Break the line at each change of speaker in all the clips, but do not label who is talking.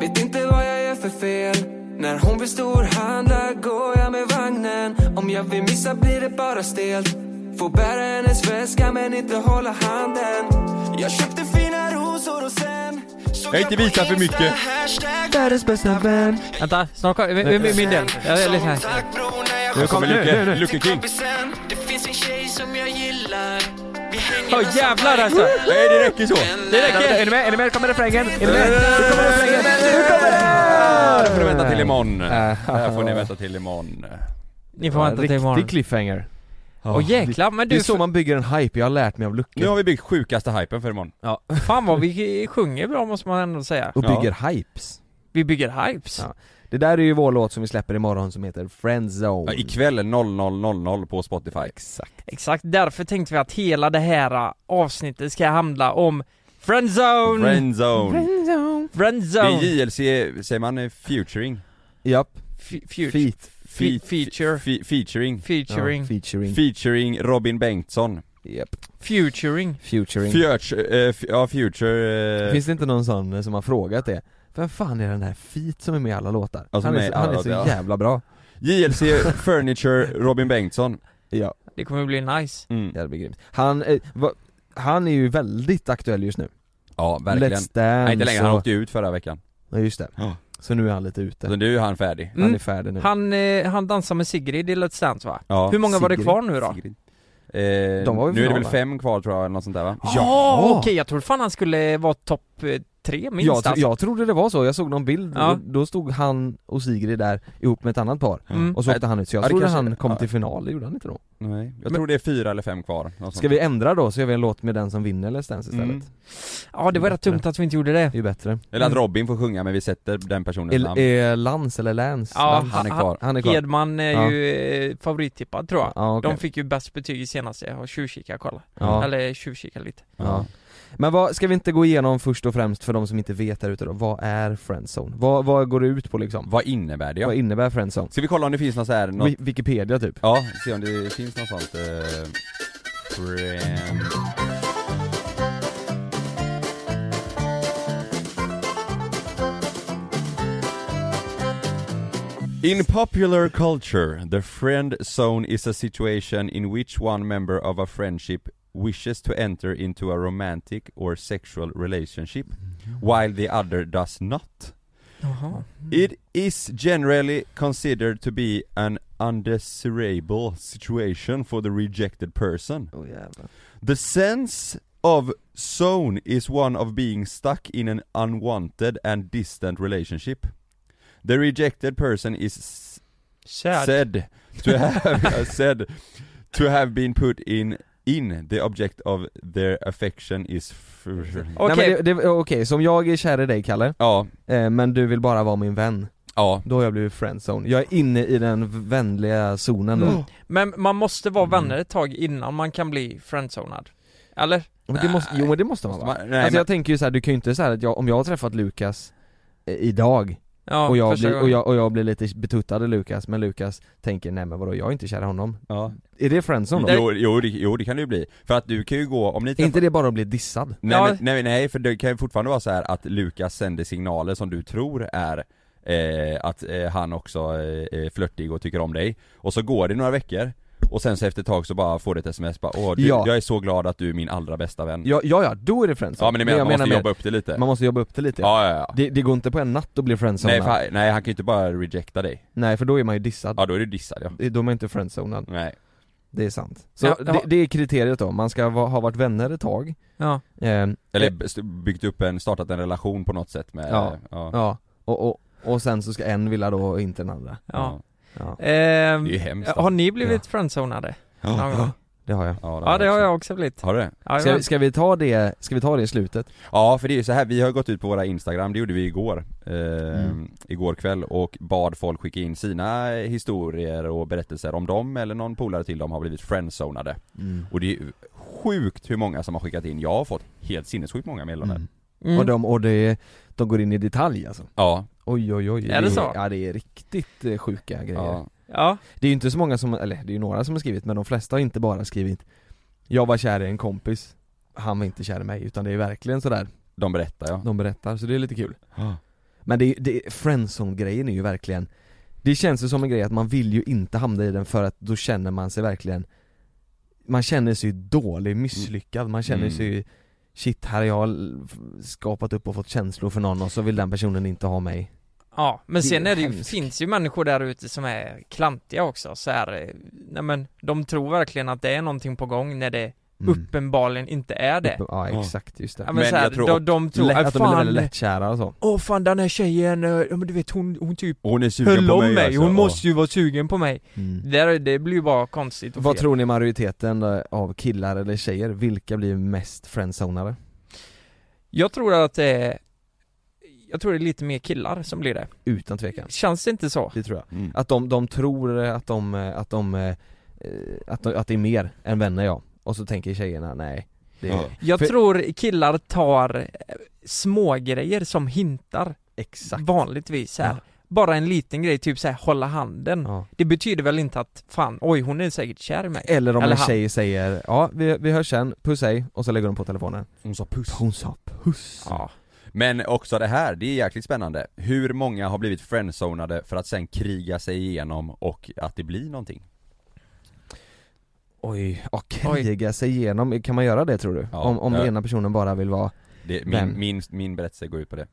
Vet inte vad jag gör för fel När hon vill storhandla går jag med vagnen Om jag vill missa blir det bara stelt Får bära hennes väska men inte hålla handen Jag köpte fina rosor och sen
Jag har inte visat för mycket.
Världens bästa vän
Vänta, snart kommer... vi- vi- vi- Min del. Jag är lite här.
Nu kommer
nu,
Alltså, Luke,
nu, nu.
Luke King.
Det finns en tjej som jag gillar
Åh jävlar alltså!
Nej det räcker så.
Det räcker!
Är ni med? Är ni med? Kommer refrängen? Är ni med? Nu kommer refrängen! Nu kommer
Det
den!
får ni vänta till imorgon. Det här får ni vänta till imorgon.
Ni får vänta till imorgon.
Riktig cliffhanger.
Åh jäklar, men
Det är
du,
så man bygger en hype, jag har lärt mig av
Nu
Lucke.
har vi byggt sjukaste hypen för imorgon.
fan vad vi sjunger bra måste man ändå säga.
Och
Ja.
bygger hypes.
Vi bygger hypes.
Ja. Det där är ju vår låt som vi släpper imorgon som heter
Ja,
Friendzone.
ikväll 00.00 på Spotify. Exakt.
Exakt, därför tänkte vi att hela det här avsnittet ska handla om Friendzone!
Friendzone.
Friendzone.
Det
Friendzone!
är JLC, säger man eh, featuring?
Japp.
Fe- fut-
Feat.
Fe-
Fe- feature.
fe- featuring.
Featuring.
Ja, featuring.
Featuring Robin Bengtsson.
Japp.
Futuring.
Featuring.
Future, eh, f- ja future... eh,
Finns det inte någon sån eh, som har frågat det? Vem fan är den här Feat som är med i alla låtar?
Ja, som
han
är
är,
i
så,
alla
han är så
låtar, ja.
jävla bra.
JLC Furniture Robin Bengtsson.
Ja,
Det kommer bli nice.
Mm.
det blir grymt. Han, eh, va, han är ju väldigt aktuell just nu.
Ja, verkligen.
Let's Dance
Nej, inte längre, han
och-
åkte ju ut förra veckan.
Ja just det.
Ja.
Så nu är han lite ute.
Så nu är han färdig.
Mm.
Han är färdig nu.
Han, eh, han dansar med Sigrid i Let's Dance va?
Ja.
Hur många var det
Sigrid.
kvar nu då?
Sigrid. Eh,
De var väl
nu är det
final,
väl
va?
fem kvar tror jag, eller något sånt där va?
Ja! Okej, jag trodde fan han skulle vara topp eh, tre minst
jag, tro,
alltså.
jag trodde det var så, jag såg någon bild,
Ja.
och då stod han och Sigrid där ihop med ett annat par.
Mm.
Och så åkte han ut, så jag
Ja, det
trodde
kanske-
han kom
ja. Mm.
till final, det gjorde han inte då.
Nej, jag tror det är fyra eller fem kvar. något sånt.
Ska vi ändra då så gör vi en låt med den som vinner Let's Dance istället?
Mm.
Ja, det var rätt dumt att vi inte gjorde det.
Det är ju bättre.
Eller att Robin får sjunga men vi sätter den personens
El,
namn.
eh, Lans eller Lance?
Ja,
Lance.
han är kvar.
han är kvar.
Hedman är
Ja.
ju eh, favorittippad tror jag.
Ja, okej.
De fick ju bäst betyg i senaste, jag har tjuvkikat kolla.
Ja.
Eller tjuvkikat lite.
Ja. Men vad, ska vi inte gå igenom först och främst för de som inte vet där ute då, vad är friendzone? Vad, vad går det ut på liksom?
Vad innebär det? Ja?
Vad innebär friendzone?
Ska vi kolla om det finns något så här, något...
Wi- Wikipedia typ?
Ja, se om det finns något sånt. Eh... friend. In popular culture, the friend zone is a situation in which one member of a friendship wishes to enter into a romantic or sexual relationship, while the other does not.
Jaha.
It is generally considered to be an undesirable situation for the rejected person.
Oh, jävlar.
The sense of zone is one of being stuck in an unwanted and distant relationship. The rejected person is s-
Sad.
said to have uh, said to have been put in in the object of their affection is f-
Okej,
Nej, men det, det, okej, så om jag är kär i dig Kalle,
ja
eh, men du vill bara vara min vän,
ja
då har jag blivit friendzone. Jag är inne i den v- vänliga zonen då.
Mm.
Men man måste vara
Mm.
vänner ett tag innan man kan bli friendzonad. Eller?
Men det måste, jo men det måste man
Måste
vara.
man- nej,
alltså
men-
jag tänker ju så här, du kan ju inte säga att jag, om jag har träffat Lukas eh, idag
Ja,
och, jag
första
blir, och,
gången.
jag, och jag blir lite betuttad i Lukas, men Lukas tänker nej men vadå jag är inte kär i honom.
ja
Är det friendzone då?
jo, jo, det, jo det kan det ju bli för att du kan ju gå om ni
Är inte det bara att bli dissad?
Nej,
Ja.
men, nej, nej, för det kan ju fortfarande vara så här att Lukas sänder signaler som du tror är eh, att eh, han också eh, är flörtig och tycker om dig. Och så går det några veckor, och sen så efter ett tag så bara får du ett sms bara Åh, du,
Ja.
jag är så glad att du är min allra bästa vän. Ja,
Ja, ja, ja då är det friendzone.
men det menar,
jag
man måste
mer-
jobba upp det lite.
man måste jobba upp det lite.
ja, ja, ja.
Det, det går inte på en natt att bli friendzonad.
Nej, för, han- nej, han kan ju inte bara rejecta dig.
nej för då är man ju dissad.
Ja, då är du dissad ja.
Det- Då är man inte friendzonad,
Nej.
det är sant. Så
Ja, ja.
det, det är kriteriet då, man ska va, ha varit vänner ett tag,
Ja.
eh,
Eller
eh,
b- byggt upp en, startat en relation på något sätt med...
Ja.
ja.
ja, och, och, och sen så ska en vilja då och inte den andra.
ja.
Ja,
Ehm,
Det är ju hemskt.
har ni blivit friendzonade?
Ja.
någon gång?
det har jag.
ja det har jag också blivit.
Har du det?
Ja, jag-
Ska, ska vi ta det, ska vi ta det i slutet?
Ja för det är ju så här, vi har gått ut på våra instagram, det gjorde vi igår eh,
Mm.
Igår kväll och bad folk skicka in sina historier och berättelser om dem eller någon polare till dem har blivit friendzonade
Mm.
Och det är ju sjukt hur många som har skickat in, jag har fått helt sinnessjukt många meddelanden
Mm.
mm.
Och de, och det, de går in i detalj alltså.
Ja,
Oj oj oj.
Är det så?
Ja det är riktigt eh, sjuka grejer.
ja,
Ja,
Det är ju inte så många som, eller det är ju några som har skrivit men de flesta har inte bara skrivit Jag var kär i en kompis, han var inte kär i mig utan det är verkligen sådär
de berättar ja
de berättar, så det är lite kul Men det, är ju- det friendzone-grejen är ju verkligen Det känns ju som en grej att man vill ju inte hamna i den för att då känner man sig verkligen Man känner sig ju dålig, misslyckad, man känner
Mm.
sig ju Shit, här har jag l- f- skapat upp och fått känslor för någon och så vill den personen inte ha mig
Ja, men
Det är
sen är det ju,
hemskt.
finns ju människor där ute som är klantiga också så här, eh, nej men de tror verkligen att det är någonting på gång när det uppenbarligen inte är det.
Uppe- Mm. Ja
Ja.
exakt, just det
Ja, men,
Men
så här,
jag tror
de, de tror,
Lätt,
äh,
att de är
fan,
väldigt lättkära och så
åh fan den här tjejen, eh, ja, men du vet hon, hon typ
Hon är sugen
höll
på
om mig,
alltså.
hon
Ja.
måste ju vara sugen på mig.
mm.
Det, där, det blir ju bara konstigt och
Vad
fel.
tror ni majoriteten eh, av killar eller tjejer, vilka blir mest friendzonade?
Jag tror att det är, jag tror det är lite mer killar som blir det.
Utan tvekan,
Känns det inte så?
det tror jag
Mm.
Att de, de tror att de, eh, att de, eh, eh, att, de att det är mer än vänner ja, och så tänker tjejerna nej det är
Ja.
Jag
För-
tror killar tar eh, små grejer som hintar
exakt
vanligtvis här.
Ja.
Bara en liten grej, typ såhär hålla handen.
ja.
Det betyder väl inte att fan, oj hon är säkert kär i mig.
Eller om
Eller
en
han.
tjej säger ja vi, vi hörs sen, puss hej, och så lägger de på telefonen
Hon sa puss.
Hon sa puss
Ja.
Men också det här, det är jäkligt spännande. Hur många har blivit friendzonade för att sen kriga sig igenom och att det blir någonting?
Oj, och kriga sig igenom, kan man göra det tror du?
Ja.
om om
Ja.
ena personen bara vill vara,
Det,
Men-
min, min, min berättelse går ut på det.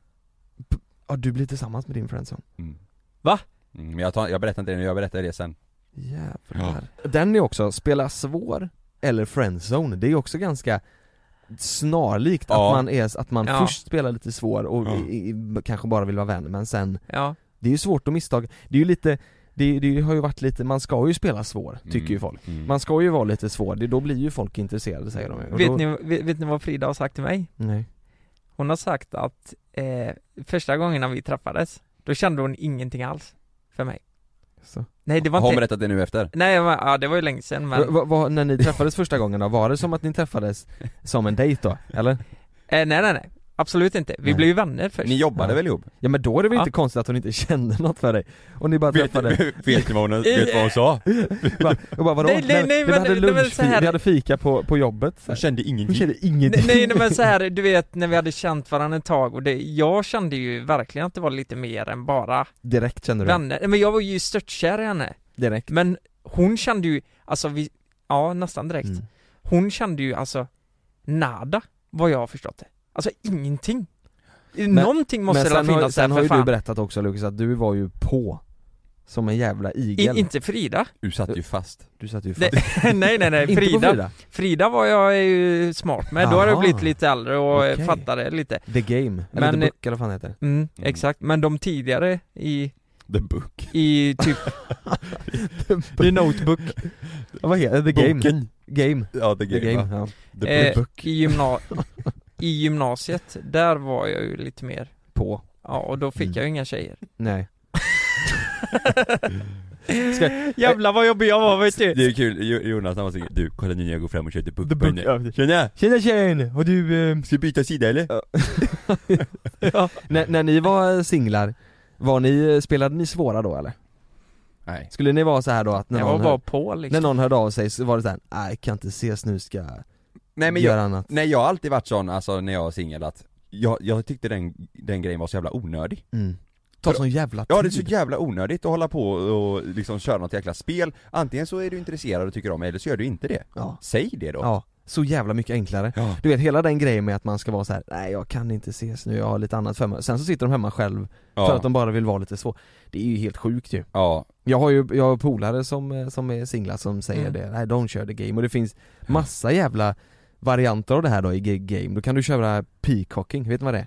ja du blir tillsammans med din friendzone
Mm.
Va?
Mm, men jag, tar, jag berättar inte det nu, jag berättar det sen.
Jävlar. Den är också, spela svår eller friendzone, det är också ganska snarlikt
Ja.
att man är, att man
Ja.
först spelar lite svår och
Ja.
i, i, kanske bara vill vara vän men sen,
Ja.
det är ju svårt att misstag, det är ju lite, det, det har ju varit lite, man ska ju spela svår, tycker
Mm.
ju folk
Mm.
Man ska ju vara lite svår, det, då blir ju folk intresserade säger de ju. Och då,
Vet, ni, vet, vet ni vad Frida har sagt till mig?
Nej.
Hon har sagt att eh, första gången när vi träffades, då kände hon ingenting alls för mig.
Så.
Nej det var
har hon
inte,
berättat det nu efter?
nej men, ja, det var ju länge sedan men,
Va, va, när ni träffades första gången då, var det som att ni träffades som en dejt då? Eller?
eh, nej nej nej, absolut inte. Vi
Nej.
blev ju vänner först.
Ni jobbade
Ja.
väl ihop?
Ja men då är det väl
Ja.
inte konstigt att hon inte kände något för dig? Och ni bara
Vet,
träffade
vet ni vad hon, vet ni vad hon sa?
Bara, jag bara vadå?
Nej, nej, nej,
vi
men
hade
det- det var
lunch,
så här-
vi hade fika på, på jobbet så
Hon
här.
kände
Hon
ingenting.
kände ingenting
Nej, nej men så här, du vet när vi hade känt varandra ett tag och det, jag kände ju verkligen att det var lite mer än bara
Direkt kände du det.
vänner. Nej, Men jag var ju störtkär i henne.
Direkt
Men hon kände ju, alltså vi, ja nästan direkt.
Mm.
Hon kände ju alltså nada, vad jag har förstått det. Alltså ingenting. Någonting måste
Men
det
sen,
finnas
har,
där
sen har
för
ju du
fan.
berättat också Lukas att du var ju på Som en jävla igel
I, inte Frida.
Du satt ju fast.
Du satt ju
Nej,
fast
nej, nej, nej.
Inte på
Frida,
Frida?
Frida var jag ju smart med. Då har jag
Aha.
blivit lite äldre och eh,
Okej.
fattade lite.
The Game, eller
Men-
The Book eller vad fan heter
Mm,
Mm.
exakt. Men de tidigare i,
The book.
i typ
The Notebook ja, Vad heter det? The Game?
Boken.
Game
Ja, the
The
game.
Game,
va?
ja.
The
eh,
book.
i, gymna i gymnasiet, där var jag ju lite mer,
På
ja och då fick
Mm.
jag ju inga tjejer.
Nej
Jävlar vad jobbig jag var vet
Det
Eh.
du!
är kul, Jo- Jonas han var så du kolla nu när jag går fram och köper bokbönder. Tjena!
Tjena tjejen! Har du... eh,
Ska vi byta sida eller?
när, när ni var singlar, var ni, spelade ni svåra då eller?
Nej.
Skulle ni vara så här då att när
Jag
någon
var bara på
När
liksom.
någon hörde av sig så var det såhär, nej kan inte ses nu ska jag
Nej men jag,
göra annat
nej, jag har alltid varit sån, alltså när jag var singel att jag, jag tyckte den, den grejen var så jävla onödig.
mm. Ta
För-
sån jävla tid
Ja det är så jävla onödigt att hålla på och liksom köra något jäkla spel, antingen så är du intresserad och tycker om mig eller så gör du inte det.
ja.
Säg det då.
ja, så jävla mycket enklare
Ja.
Du vet hela den grejen med att man ska vara så här: nej jag kan inte ses nu, jag har lite annat för mig Sen så sitter de hemma själv för att de bara vill vara lite så Det är ju helt sjukt ju
ja.
Jag har ju, jag har polare som, eh, som är singlar som säger
Mm.
det, nej de kör the game och det finns massa jävla varianter av det här då i g- game, då kan du köra peacocking, vet du vad det är?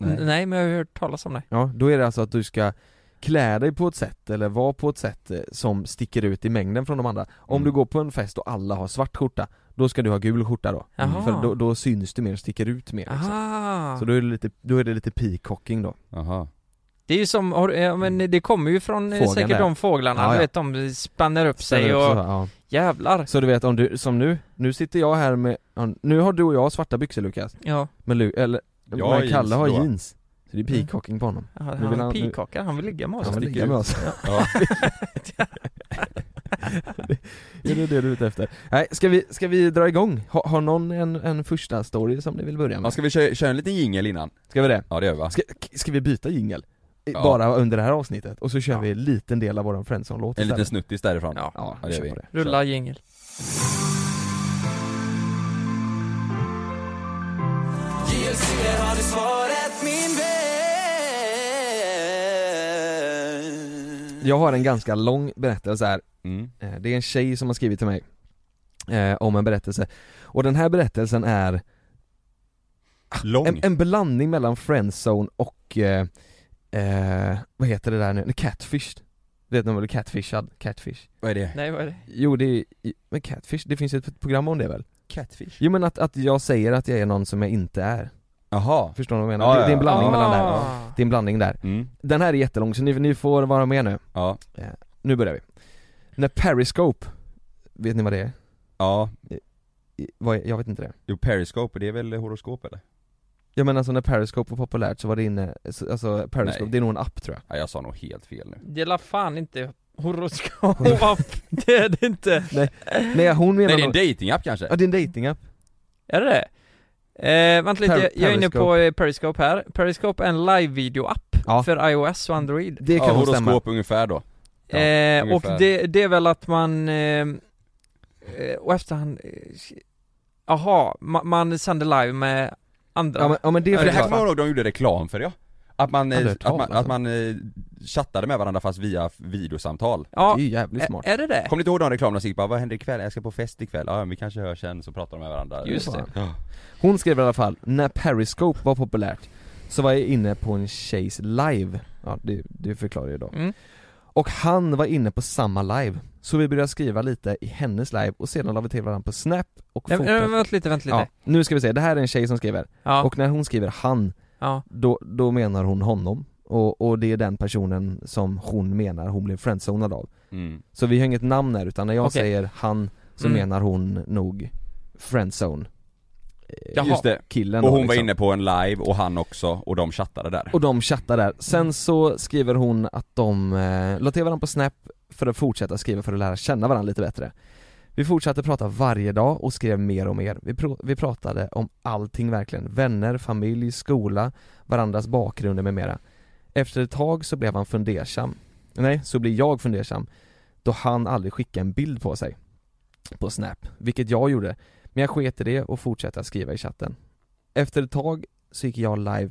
Nej.
Mm.
men jag har ju hört talas om det.
Ja, då är det alltså att du ska klä dig på ett sätt eller vara på ett sätt eh, som sticker ut i mängden från de andra. Om
Mm.
du går på en fest och alla har svart skjorta, då ska du ha gul skjorta då.
Jaha.
För då, då syns du mer, sticker ut mer. liksom.
Aha.
Så då är, det lite, då är det lite peacocking då.
Aha.
Det är ju som, har du- ja, men det kommer ju från eh,
Fågeln
säkert
där.
de fåglarna,
Ja,
du
ja.
vet de spänner upp sig
Ställer upp
och
så, här, ja.
jävlar.
så du vet om du, som nu, nu sitter jag här med, ja, nu har du och jag svarta byxor Lukas,
Ja,
men, Lu, eller,
Jag har
men
jeans
Kalle har
då. Mm.
jeans. Så det är peacocking på honom.
han,
Nu vill
han
han- nu-
pikakar, han vill ligga med oss.
Han vill
sticker
ligga
ut.
med oss.
Ja.
Är det det du är ute efter? Nej, ska vi, ska vi dra igång? Har, har någon en, en första story som ni vill börja
Ja,
med?
ska vi köra, köra en liten jingel innan?
Ska vi det?
Ja det gör vi va?
Ska, k- ska vi byta jingel? I-
Ja.
Bara under det här avsnittet, och så kör
Ja.
vi en liten del av våran Friendzone-låt
En liten
istället.
snuttis därifrån?
Ja.
Ja,
Ja,
vi
det gör
kör
vi.
på det.
Rulla jingel
JLC, där har du svaret min vän.
Jag har en ganska lång berättelse här,
Mm.
Eh, Det är en tjej som har skrivit till mig eh, om en berättelse. Och den här berättelsen är
Lång?
en, en blandning mellan friendzone och, eh, eh, vad heter det där nu, catfish. Vet ni vad det är? Catfishad? Catfish.
Vad är det?
Nej vad är det?
Jo det är, i- men catfish, det finns ju ett program om det väl?
Catfish?
Jo men att, att jag säger att jag är någon som jag inte är.
Jaha
Förstår ni vad jag menar?
Ja,
det, det är en
ja,
blandning
ja.
mellan där.
Ah.
Det är en blandning där.
mm.
Den här är jättelång så ni, ni får vara med nu.
Ja,
Nu börjar vi. När Periscope, vet ni vad det är?
ja,
I- Vad, jag vet inte det.
jo periscope, det är väl horoskop eller?
Ja men alltså när Periscope var populärt så var det inne, så- alltså Periscope,
Nej.
det är nog en app tror jag
Ja, jag sa nog helt fel nu
Det är la fan inte horoskop Det är det inte
Nej hon menar
Nej det är en
nog-
datingapp kanske?
Ja det är en datingapp,
Är det det? Eh, vänta lite,
Per-
jag- jag är inne på
Periscope.
eh, Periscope här Periscope är en live-video-app
Ja.
för iOS och Android
det kan
ja,
nog
horoskop
stämma
ungefär då Ja,
eh, Och
ungefär.
det, det är väl att man eh, eh, Och efterhand Jaha, ma- man sänder live med andra
ja men, ja, men det är
För det här
faktiskt bra.
kommer jag ihåg de gjorde reklam för ja Att man, eh,
Aldrig
att
hört talas
man,
om.
att man eh, chattade med varandra fast via f- videosamtal
Ja,
Det är ju jävligt smart
Är, är det det?
Kommer ni inte ihåg de reklamerna som gick bara 'Vad händer ikväll? Jag ska på fest ikväll' Ja, men vi kanske hörs sen, så pratar de med varandra
Just det.
Ja.
Hon skrev i alla fall, när Periscope var populärt så var jag inne på en tjejs live, ja det, det förklarar ju då
Mm.
Och han var inne på samma live, så vi började skriva lite i hennes live och sedan la vi till varandra på snap och
Nej, men-
fortsatte-
men Vänta lite, vänta
Ja,
lite
nu ska vi se, det här är en tjej som skriver,
Ja,
och när hon skriver han
ja.
då, då menar hon honom och, och det är den personen som hon menar hon blev friendzonad av
Mm.
Så vi har inget namn här utan när jag
Okej.
säger han så
Mm.
menar hon nog friendzone Eh,
Jaha.
Just det,
Killen
och
då,
hon var
liksom.
inne på en live och han också och de chattade där
Och de chattar där, sen så skriver hon att de eh, la till varandra på snap för att fortsätta skriva för att lära känna varandra lite bättre Vi fortsatte prata varje dag och skrev mer och mer, vi, pro- vi pratade om allting verkligen, vänner, familj, skola, varandras bakgrunder med mera Efter ett tag så blev han fundersam, nej så blev jag fundersam då han aldrig skickade en bild på sig på snap, vilket jag gjorde men jag sket i det och fortsatte att skriva i chatten Efter ett tag så gick jag live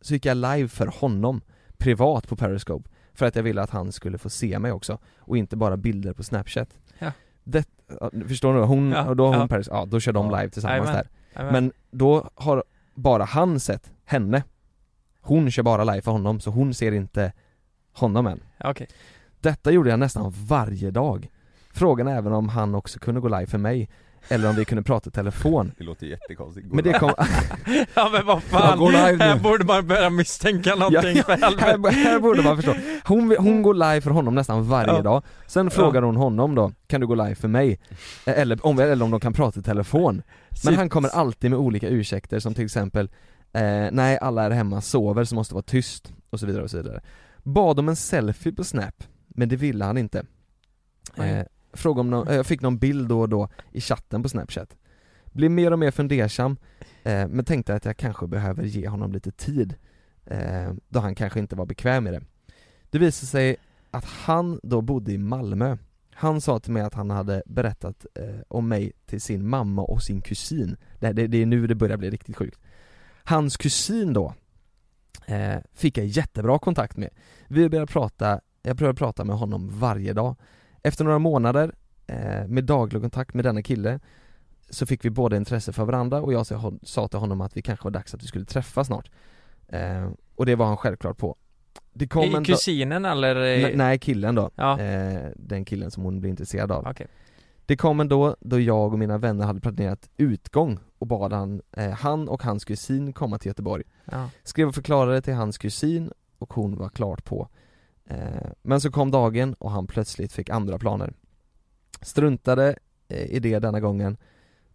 så gick jag live för honom privat på Periscope för att jag ville att han skulle få se mig också och inte bara bilder på Snapchat.
Ja.
Det, ja, förstår du? Hon,
Ja,
och då har hon
ja.
Peris, ja då kör de
Ja.
live tillsammans
Jajamän.
där.
Ja,
Men då har bara han sett henne. Hon kör bara live för honom så hon ser inte honom än.
Okej
Detta gjorde jag nästan varje dag. Frågan är även om han också kunde gå live för mig eller om vi kunde prata i telefon.
Det låter jättekonstigt
Men det kom,
Ja men vad
Jag går
fan,
live nu.
här borde man börja misstänka någonting
Ja,
för helvete
här, här borde man förstå. Hon, hon går live för honom nästan varje
Ja.
dag, sen frågar hon honom då, kan du gå live för mig? Eh, Eller om, eller om de kan prata i telefon. Men han kommer alltid med olika ursäkter som till exempel, eh, nej alla är hemma, sover så måste det vara tyst och så vidare och så vidare. Bad om en selfie på snap, men det ville han inte. Eh,
Oj.
fråga om någon, eh, jag fick någon bild då och då i chatten på snapchat. Blev mer och mer fundersam, eh, men tänkte att jag kanske behöver ge honom lite tid eh, då han kanske inte var bekväm med det. Det visade sig att han då bodde i Malmö. Han sa till mig att han hade berättat eh, om mig till sin mamma och sin kusin. Det, det, det är nu det börjar bli riktigt sjukt. Hans kusin då eh, fick jag jättebra kontakt med. Vi började prata, jag började prata med honom varje dag. Efter några månader eh, med daglig kontakt med denna kille så fick vi båda intresse för varandra och jag sa- sa till honom att vi kanske var dags att vi skulle träffas snart. Eh, och det var han självklart på. Det kom
I
en dag-
kusinen eller? eh,
Nej, nej, killen då.
Ja,
Eh, den killen som hon blev intresserad av.
okej
Det kom en då, då jag och mina vänner hade planerat utgång och bad han, eh, han och hans kusin komma till Göteborg.
ja.
Skrev och förklarade till hans kusin och hon var klart på. Eh, men så kom dagen och han plötsligt fick andra planer. Struntade eh, i det denna gången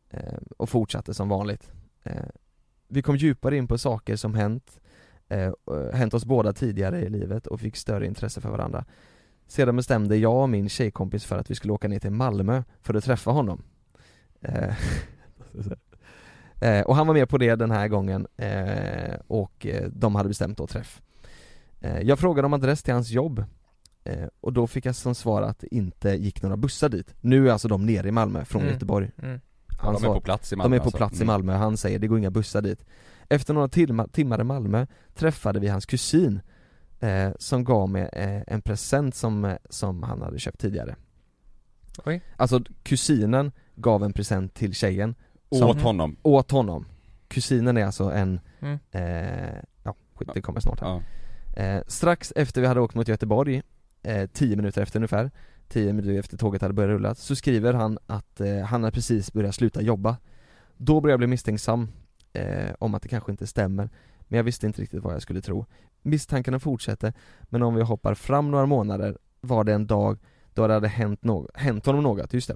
eh, och fortsatte som vanligt. Eh, vi kom djupare in på saker eh, som hänt, eh, och- hänt oss båda tidigare i livet och fick större intresse för varandra. Sedan bestämde jag och min tjejkompis för att vi skulle åka ner till Malmö för att träffa honom Eh, eh, Och han var med på det den här gången eh, och eh, de hade bestämt då träff Eh, Jag frågade om adress till hans jobb eh, och då fick jag som svar att det inte gick några bussar dit Nu är alltså de nere i Malmö från
Mm.
Göteborg
Mm.
Ja, de är
svar-
på plats i Malmö
de är på
alltså.
plats i Malmö och han säger det går inga bussar dit Efter några tim- timmar i Malmö träffade vi hans kusin eh, Som gav mig eh, en present som, eh, som han hade köpt tidigare
Oj.
Alltså kusinen gav en present till tjejen
Mm. Åt
Som-
honom.
åt honom Kusinen är alltså en,
Mm.
eh, ja skit det kommer snart här
Ja.
Eh, strax efter vi hade åkt mot Göteborg, eh, 10 minuter efter ungefär, 10 minuter efter tåget hade börjat rulla, så skriver han att eh, han har precis börjat sluta jobba. Då började jag bli misstänksam eh, om att det kanske inte stämmer, men jag visste inte riktigt vad jag skulle tro. Misstankarna fortsatte, men om vi hoppar fram några månader var det en dag då det hade hänt, no- hänt honom något, just det.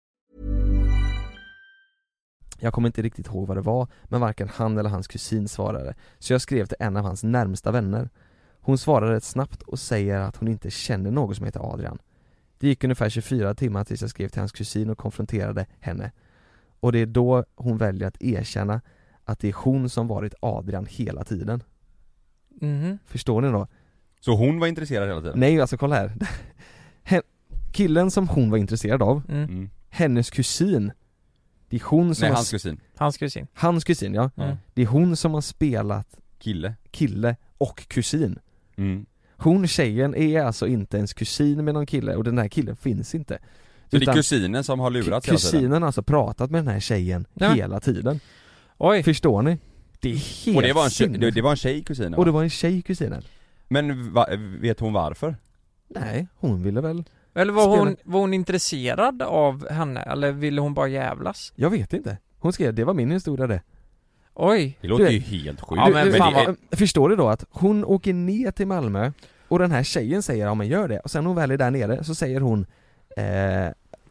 Jag kommer inte riktigt ihåg vad det var, men varken han eller hans kusin svarade, så jag skrev till en av hans närmsta vänner. Hon svarar rätt snabbt och säger att hon inte känner någon som heter Adrian. Det gick ungefär 24 timmar tills jag skrev till hans kusin och konfronterade henne. Och det är då hon väljer att erkänna att det är hon som varit Adrian hela tiden.
Mhm.
Förstår ni då?
Så hon var intresserad hela tiden?
Nej alltså kolla här. Hen- Killen som hon var intresserad av,
Mm.
Mm.
hennes kusin, det är hon som
Nej,
har
hans
sp-
kusin.
Hans kusin.
hans kusin ja,
Mm.
det är hon som har spelat
Kille.
kille och kusin.
Mm.
Hon tjejen är alltså inte ens kusin med någon kille och den här killen finns inte.
Så det är
Utan
kusinen som har lurats hela tiden?
kusinen har alltså pratat med den här tjejen
Ja, men-
hela tiden.
Oj.
Förstår ni? Det är helt
Och det var en tjej,
sinnes-
det, det var en tjej kusinen
Och
va?
det var en tjej i kusinen?
Men va, vet hon varför?
Nej, hon ville väl?
Eller var hon,
Spelar-
var hon intresserad av henne? Eller ville hon bara jävlas?
Jag vet inte. Hon skrev det var min historia det.
Oj.
Det låter
Du-
ju helt sjukt.
Ja, men
du,
fan
det,
vad-
Förstår du då att hon åker ner till Malmö och den här tjejen säger ja men gör det och sen när hon väl är där nere så säger hon eh,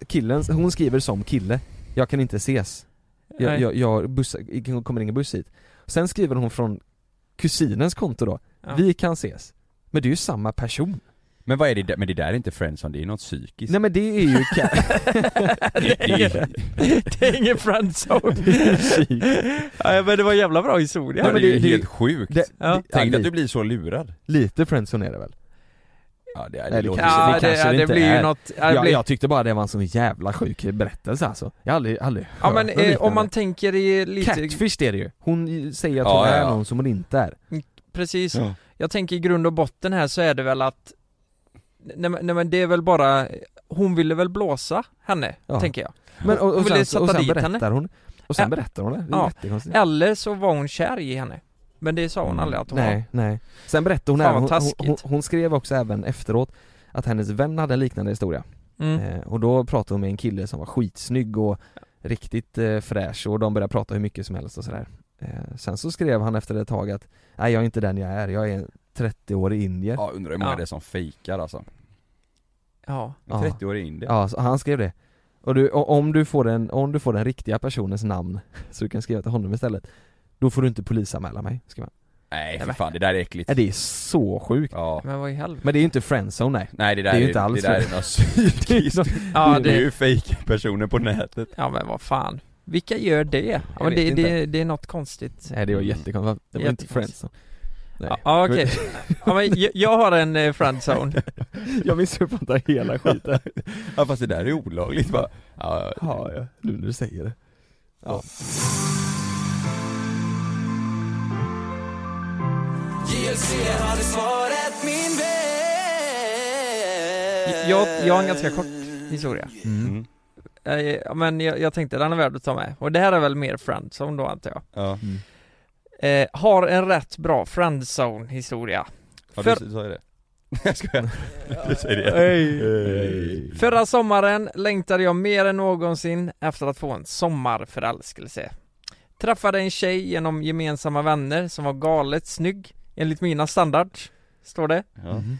killen, hon skriver som kille, jag kan inte ses. Jag,
Nej.
jag, jag buss, jag kommer ingen buss hit. Sen skriver hon från kusinens konto då,
Ja.
vi kan ses. Men det är ju samma person.
men vad är det där? Men det där är inte friendzone, det är något psykiskt.
Nej men det är ju ka-
det, det, är-
Det är ingen friendzone. Nej men det var en jävla bra historia.
det,
men
är ju
det-
helt sjukt.
det,
Ja.
ja,
Tänk dig att du
lite,
blir så lurad.
lite friendzone är det väl?
Ja, det,
Nej, det
låter
kanske-
så-
Ja,
det
det,
kanske
det,
det inte
blir ju
är.
något, ja, det
Jag,
blir,
jag tyckte bara det var en sån jävla sjuk berättelse alltså. Jag har aldrig, aldrig
ja
hört
men
något
eh,
liknande.
om man tänker i lite,
Catfish är det ju, hon säger att
Ja,
hon
ja,
är
ja.
någon som hon inte är
precis,
Ja.
jag tänker i grund och botten här så är det väl att Nej men, nej, men det är väl bara, hon ville väl blåsa henne,
Ja.
tänker jag.
Men och, och,
Hon ville
sen, och
sätta
sen
dit
berättar
henne.
hon Och sen
Ä-
berättar hon det, det är
Ja.
jättekonstigt
Eller så var hon kär i henne. Men det sa hon
Mm.
aldrig att hon var.
Nej, nej Sen berättade hon
Fan,
även, hon,
vad
hon,
taskigt.
hon, hon skrev också även efteråt Att hennes vän hade en liknande historia
Mm.
eh, Och då pratade hon med en kille som var skitsnygg och riktigt eh, fräsch och de började prata hur mycket som helst och sådär eh, Sen så skrev han efter ett tag att Nej jag är inte den jag är, jag är en 30-årig indier
Ja, undrar hur många
Ja.
det är som fejkar alltså.
Ja.
Ja.
30 år in det.
Ja, så han skrev det. Och du, o- om, du får den, om du får den riktiga personens namn, så du kan skriva till honom istället, då får du inte polisanmäla mig, skrev han.
Nej
Nej,
för
men-
fan, det där är äckligt.
Nej, det är så sjukt.
Ja.
Men vad i helvete.
Men det är ju inte friendzone nej.
Nej det där
Det är ju
är,
inte alls
det där
så.
är något psykiskt.
Ja,
Det är
det,
ju fejka personer på nätet.
ja men vad fan. Vilka gör det? Ja, men
vet
det,
inte.
det, det är något konstigt.
Nej det var jättekonstigt, det var inte
Jättekonstigt.
friendzone. Nej.
Ja okej, ja, men jag, jag har en eh, friendzone
Jag missuppfattar hela skiten.
Ja fast det där är olagligt va? Ja,
ja, ja, nu när du säger det. Ja.
JLC hade svaret min vän
Jag, jag har en ganska kort historia
Mm.
Mm.
Eh, ja, Men jag, jag tänkte den är värd att ta med, och det här är väl mer friendzone då antar jag
Ja,
Mm.
eh, Har en rätt bra friendzone historia
ja
För-
du, du sa ju det. Jag skojar. Du säger det. Hej.
Förra sommaren längtade jag mer än någonsin efter att få en sommarförälskelse. Träffade en tjej genom gemensamma vänner som var galet snygg, enligt mina standards, står det.
Ja.
Mm.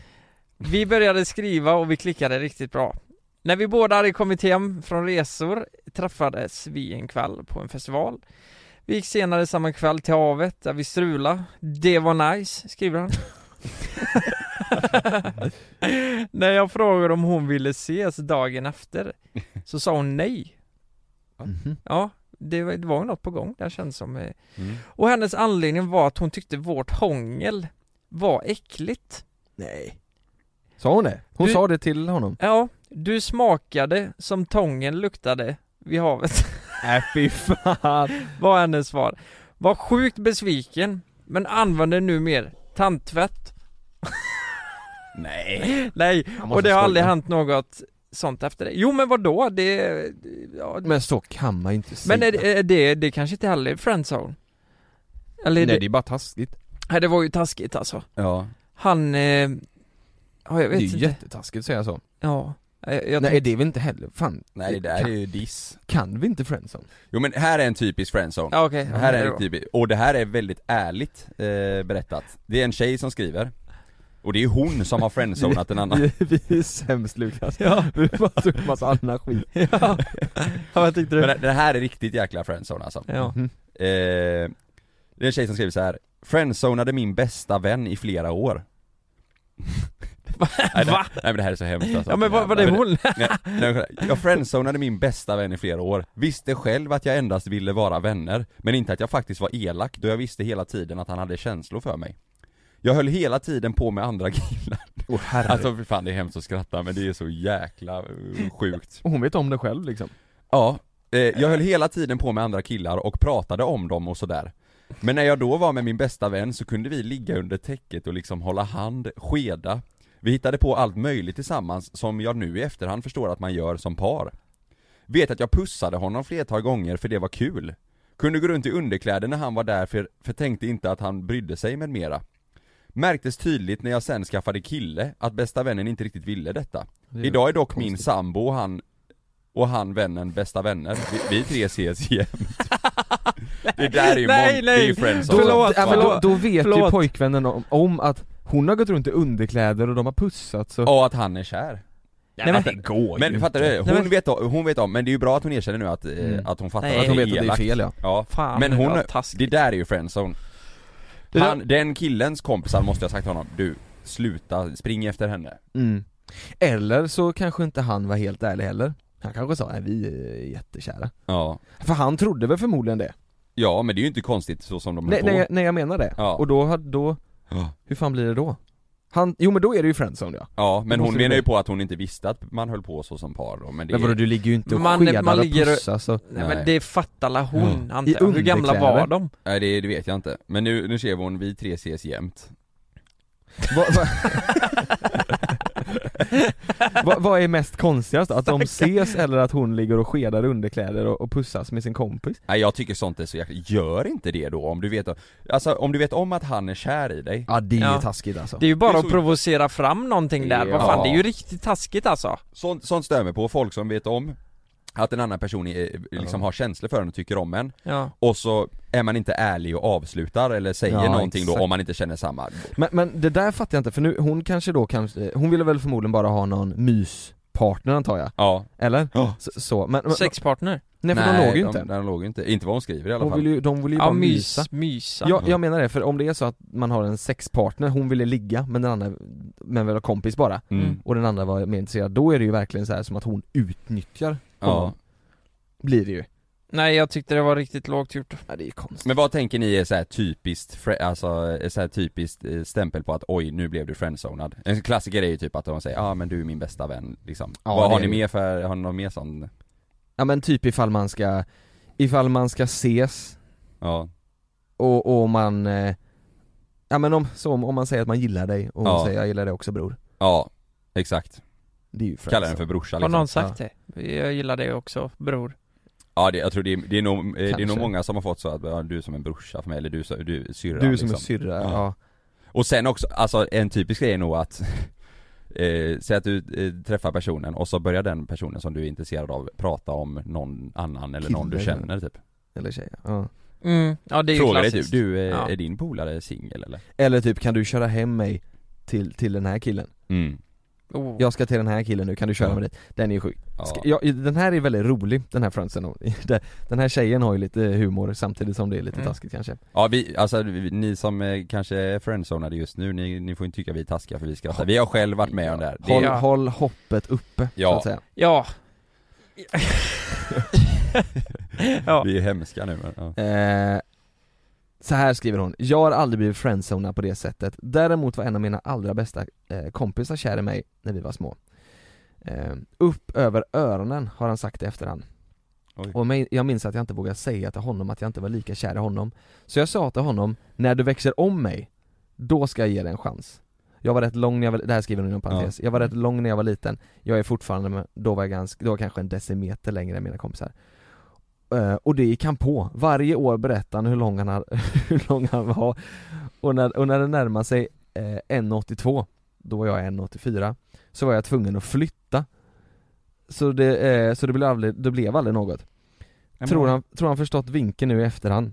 Vi började skriva och vi klickade riktigt bra. När vi båda hade kommit hem från resor träffades vi en kväll på en festival. Vi gick senare samma kväll till havet där vi strulade. Det var nice, skriver han. När jag frågade om hon ville ses dagen efter så sa hon nej.
Mhm.
Ja, det var, det var ju något på gång där kändes som. eh.
Mm.
Och hennes anledning var att hon tyckte vårt hångel var äckligt.
Nej Sa hon det? Hon
Du-
sa det till honom?
Ja, du smakade som tången luktade vid havet,
Nej fy fan
var hennes svar. Var sjukt besviken, men använder nu mer tandtvätt.
Nej.
Nej,
Han
och
måste
det har
skoja.
aldrig hänt något sånt efter det. Jo men vadå, det... Ja,
Men så kan man ju inte säga
men är det, är det, det kanske inte heller är friendzone? Eller är
Nej
det,
det är bara taskigt
Nej, det var ju taskigt alltså.
Ja.
Han... Eh, ja, jag
Det är
vet
ju
inte.
jättetaskigt att säga så
Ja. Jag, jag
Nej
tänkte-
det är väl inte heller, fan
Nej det där är
kan,
ju diss.
kan vi inte friendzone?
Jo men här är en typisk friendzone.
Ja, okej.
Det här
Ja,
är
då.
typ, och det här är väldigt ärligt eh, berättat. Det är en tjej som skriver. Och det är hon som har friendzonat en annan.
Vi, vi är sämst Lukas, ja. vi bara tog massa annan skit
Ja. ja, vad tyckte
Men
du?
det- det här är riktigt jäkla friendzone alltså.
Ja.
Mhm.
Eh, det är en tjej som skriver så här. Friendzonade min bästa vän i flera år. Nej, det,
Va?
nej men det här är så hemskt alltså.
Ja men vad var
Nej,
det
men
hon?
Nej, nej, jag friendzonade min bästa vän i flera år, visste själv att jag endast ville vara vänner, men inte att jag faktiskt var elak då jag visste hela tiden att han hade känslor för mig. Jag höll hela tiden på med andra killar.
Åh herregud
Alltså för fan det är hemskt att skratta men det är så jäkla eh, sjukt.
Och hon vet om det själv liksom
Ja, eh, jag höll hela tiden på med andra killar och pratade om dem och sådär. Men när jag då var med min bästa vän så kunde vi ligga under täcket och liksom hålla hand, skeda. Vi hittade på allt möjligt tillsammans som jag nu i efterhand förstår att man gör som par. Vet att jag pussade honom flertal gånger för det var kul. Kunde gå runt i underkläder när han var där för, för tänkte inte att han brydde sig med mera. Märktes tydligt när jag sen skaffade kille att bästa vännen inte riktigt ville detta.
Det är
Idag är dock min
konstigt.
sambo och han och han vännen bästa vänner. Vi, vi tre ses igen. Det där är ju
Nej,
mon- det är
nej.
ju friendzone.
Förlåt,
ja, men då,
förlåt.
då vet ju
Förlåt.
pojkvännen om, om att hon har gått runt i underkläder och de har pussats och...
Och att han är kär.
Nej, men-
går
alltså, Men fattar du? Hon,
Nej, men-
vet, o- hon vet om, men det är ju bra att hon erkänner nu att, eh,
Mm.
att hon fattar
Nej.
att
Att hon
hon
vet att det är
elakt.
fel ja
Ja.
Fan,
Men hon,
vad taskigt.
det där är ju friendzone.
Det där-
Han, den killens kompisar måste ha sagt till honom, du, sluta, spring efter henne.
mm. Eller så kanske inte han var helt ärlig heller Han kanske sa att vi är jättekära
Ja.
För han trodde väl förmodligen det?
Ja men det är ju inte konstigt så som de
Nej,
höll
nej,
på.
jag- nej jag menar det,
Ja.
och då, har- då,
Ja.
hur fan blir det då? Han, jo men då är det ju friendzone ja
Ja men hon
Då måste det
menar ju
bli.
på att hon inte visste att man höll på så som par då, men det
Men vadå du ligger ju inte och
Man-
skedar
man
och
ligger och-
pussas och...
Nej,
Nej.
men det fattar la hon antar
I
jag. Hur gamla
underkläder.
var de?
Nej det, det vet jag inte, men nu, nu ser vi hon, vi tre ses jämt
Vad va, va, vad är mest konstigast? Att de ses eller att hon ligger och skedar underkläder och, och pussas med sin kompis?
Nej jag tycker sånt är så jäkla, gör inte det då om du vet Alltså om du vet om att han är kär i dig
Ja det är
Ja.
ju taskigt alltså
Det är ju
Det
bara
är
att
så-
provocera fram någonting där, vad fan
Ja.
det är ju riktigt taskigt alltså
Sånt, sånt stör mig på, folk som vet om att en annan person är, liksom har känslor för en och tycker om en
Ja,
Och så är man inte ärlig och avslutar eller säger
Ja,
någonting då
exakt.
om man inte känner samma
men, men det där fattar jag inte för nu, hon kanske då kanske, hon ville väl förmodligen bara ha någon myspartner antar jag?
Ja
Eller?
Ja.
Så, så men, men
sexpartner?
nej för de låg ju
de,
inte
de låg ju inte, inte vad hon skriver i alla
Hon
fall
vill ju, de vill ju
Ja,
bara
mys,
mysa
mysa
Ja, jag menar det, för om det är så att man har en sexpartner, hon ville ligga men den andra, men väl var kompis bara
mm.
och den andra var mer intresserad, då är det ju verkligen så här som att hon utnyttjar
Ja.
honom. Blir det ju.
Nej jag tyckte det var riktigt lågt gjort
Ja det är ju konstigt.
Men vad tänker ni är så här typiskt, fre- alltså är så här typiskt eh, stämpel på att oj nu blev du friendzonad? En klassiker är ju typ att de säger ja ah, men du är min bästa vän liksom.
Ja,
vad
det
har
är
ni
det.
mer för, har ni någon mer sån?
Ja men typ ifall man ska, ifall man ska ses
Ja.
och, och man eh, Ja men om, som om man säger att man gillar dig och hon
Ja.
säger jag gillar dig också bror
Ja, exakt.
Det är ju fränt
Kallar den för brorsa
Har
liksom.
någon sagt det? Jag gillar dig också, bror
Ja, det, jag tror det är, det, är nog, eh, det är nog
Kanske.
många som har fått så att ja, du är som en brorsa för mig, eller du, är så- du är syrran
Du som
liksom.
är syrra,
Ja.
ja.
Och sen också, alltså en typisk grej är nog att eh, Säg att du eh, träffar personen och så börjar den personen som du är intresserad av prata om någon annan eller någon du
Killen.
känner typ
Eller tjejer, ja.
mm. Ja det är ju
Frågar dig
klassiskt
typ, du, eh,
Ja.
är din polare singel eller?
Eller typ kan du köra hem mig till, till den här killen?
Mm.
oh.
Jag ska till den här killen nu, kan du köra
Ja.
mig dit? Den är ju sjuk
Ja.
Ska, ja, den här är väldigt rolig, den här fransen hon- Den här tjejen har ju lite humor samtidigt som det är lite
Mm.
taskigt kanske
Ja vi, alltså vi- ni som eh, kanske är friendzonade just nu, ni, ni får inte tycka vi är taskiga för vi skrattar. Vi har själv varit med om det här. Det
Håll,
är,
Ja.
håll hoppet uppe,
Ja.
så att säga
Ja Ja,
Vi är hemska nu men, ja.
eh, Så här skriver hon, jag har aldrig blivit friendzonad på det sättet Däremot var en av mina allra bästa eh, kompisar kär i mig när vi var små eh, Upp över öronen har han sagt i efterhand
Oj.
Och mig- jag minns att jag inte vågade säga till honom att jag inte var lika kär i honom Så jag sa till honom, när du växer om mig, då ska jag ge dig en chans Jag var rätt lång när jag var, det här skriver hon inom parentes, jag var rätt lång när jag var liten Jag är fortfarande, men då var jag ganska, då var jag kanske en decimeter längre än mina kompisar Eh, och det gick han på. Varje år berättade han hur lång han, hade, hur lång han var och när, och när det närmade sig eh, 1,82 Då var jag 1,84 Så var jag tvungen att flytta Så det, eh, så det, blev, aldrig, det blev aldrig något tror, han, tror han förstått vinkeln nu i efterhand